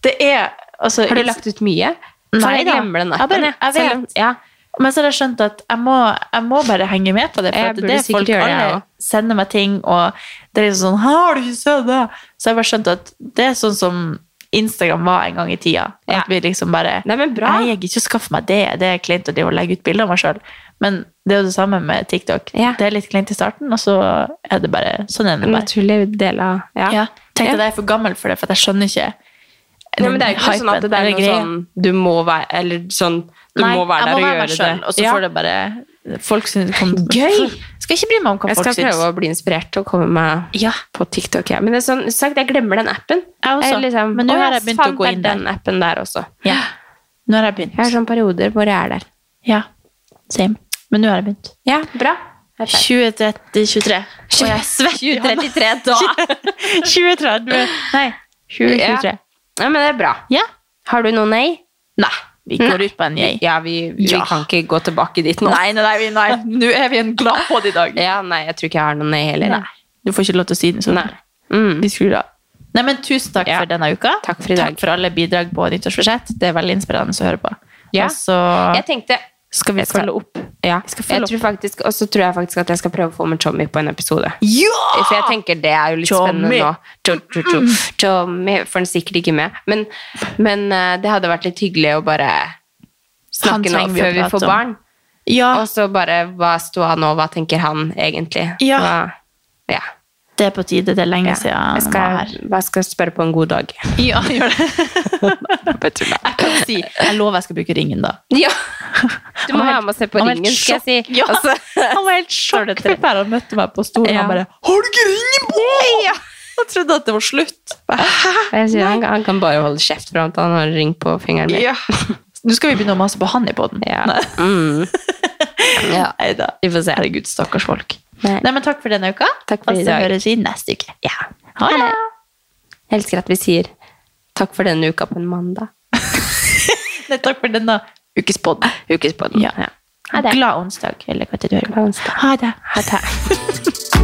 det er altså, Har du lagt ut mye? For Nei jeg da. glemmer den Ja, appen, det- jeg. jeg Selv om- vet. Men så har jeg skjønt at jeg må, jeg må bare henge med på det. For Jeg at burde det er sikkert folk gjøre det, jeg alle også. sender meg ting, og det er liksom sånn Har du ikke sett det? Så jeg bare skjønte at det er sånn som Instagram var en gang i tida. At Ja. vi liksom bare Nei, men bra. Nei, jeg gidder ikke å skaffe meg det. Det er kleint å drive og legge ut bilder av meg sjøl. Men det er jo det samme med TikTok. Ja. Det er litt kleint i starten, og så er det bare sånn er det En bare. naturlig del av ja. Ja. Tenk Ja. at jeg er for gammel for det, for at jeg skjønner ikke Nei, men det er jo ikke hypen, sånn at det er eller noe greia. sånn Du må være Eller sånn Du Nei, må være jeg der og må være gjøre meg selv, det. Og så Ja. får det bare folk synes, kom, Gøy! Skal ikke bry meg om hva Jeg folk skal syns. prøve å bli inspirert til å komme meg Ja. på TikTok. Ja. Men det er sånn, som sagt, jeg glemmer den appen. Jeg også. liksom, Men nå «Å ja, har jeg begynt faen, å gå inn det er Den appen der også. ja. Nå har jeg begynt. Jeg sånn- har sånne perioder hvor jeg er der. Ja. Same. Men nå har jeg begynt. Ja, bra. 2030-23. Og jeg er svett i hånda. 2033 [laughs] da. 2030 Nei. 2023. Ja, men det er bra. Ja. Har du noe nei? Nei. Vi går ut på en yay. Ja, vi, vi Ja. kan ikke gå tilbake dit nå. Nei, nei, nei, vi- nei. Nå er vi en glad på det i dag. Ja, nei, jeg tror ikke jeg har noe nei heller. Nei. Du får ikke lov til å si den sånn. Nei. Mm. De skrur av. Nei, men tusen takk Ja. for denne uka. Takk for i dag. Takk for alle bidrag på nyttårsforsett. Det er veldig inspirerende å høre på. Ja. Og så Jeg tenkte skal vi jeg skal- følge opp. Ja, Vi skal følge jeg opp. tror faktisk, og så tror jeg faktisk at jeg skal prøve å få med Tommy på en episode. For jeg tenker det er jo litt Tommy! spennende nå. Jo, jo, jo. Tommy får han sikkert ikke med. Men, men eh, det hadde vært litt hyggelig å bare Han snakke nå trenger vi å før vi prate får om. Ah. barn. Ja, Og så bare hva sto han nå, hva tenker han egentlig? Ja. Hva, ja, det er på tide. Det er lenge ja. siden Jeg han var her. skal, hva skal jeg spørre på en god dag? [laughs] Ja, gjør det. [laughs] Jeg kan si Jeg lover jeg skal bruke ringen, da. Ja! Du må Han var ha helt- med og se på han var helt ringen, skal jeg sjokk. si. Altså- Ja. Og så- Han var helt [laughs] sjokkforferdet. Han møtte meg på stolen Ja. og bare 'Har du ikke ringen på?!' Han trodde at det var slutt. Og jeg sier, han, han kan bare holde kjeft for at han har ring på fingeren min. Ja. Nå skal vi begynne å mase på han i poden. Ja. Nei. Mm. ja. Neida. Vi får se. Herregud, stakkars folk. Nei. Nei, men takk for denne uka. Takk for og i så dag. høres vi neste uke. Ja. Ha det. Jeg elsker at vi sier takk for denne uka på en mandag. Nei, takk for denne ukes pod. Ukespodden. Ja. Ja. Ha det. Glad onsdag, eller hva det du hører på. Glad onsdag. Ha det. Ha det.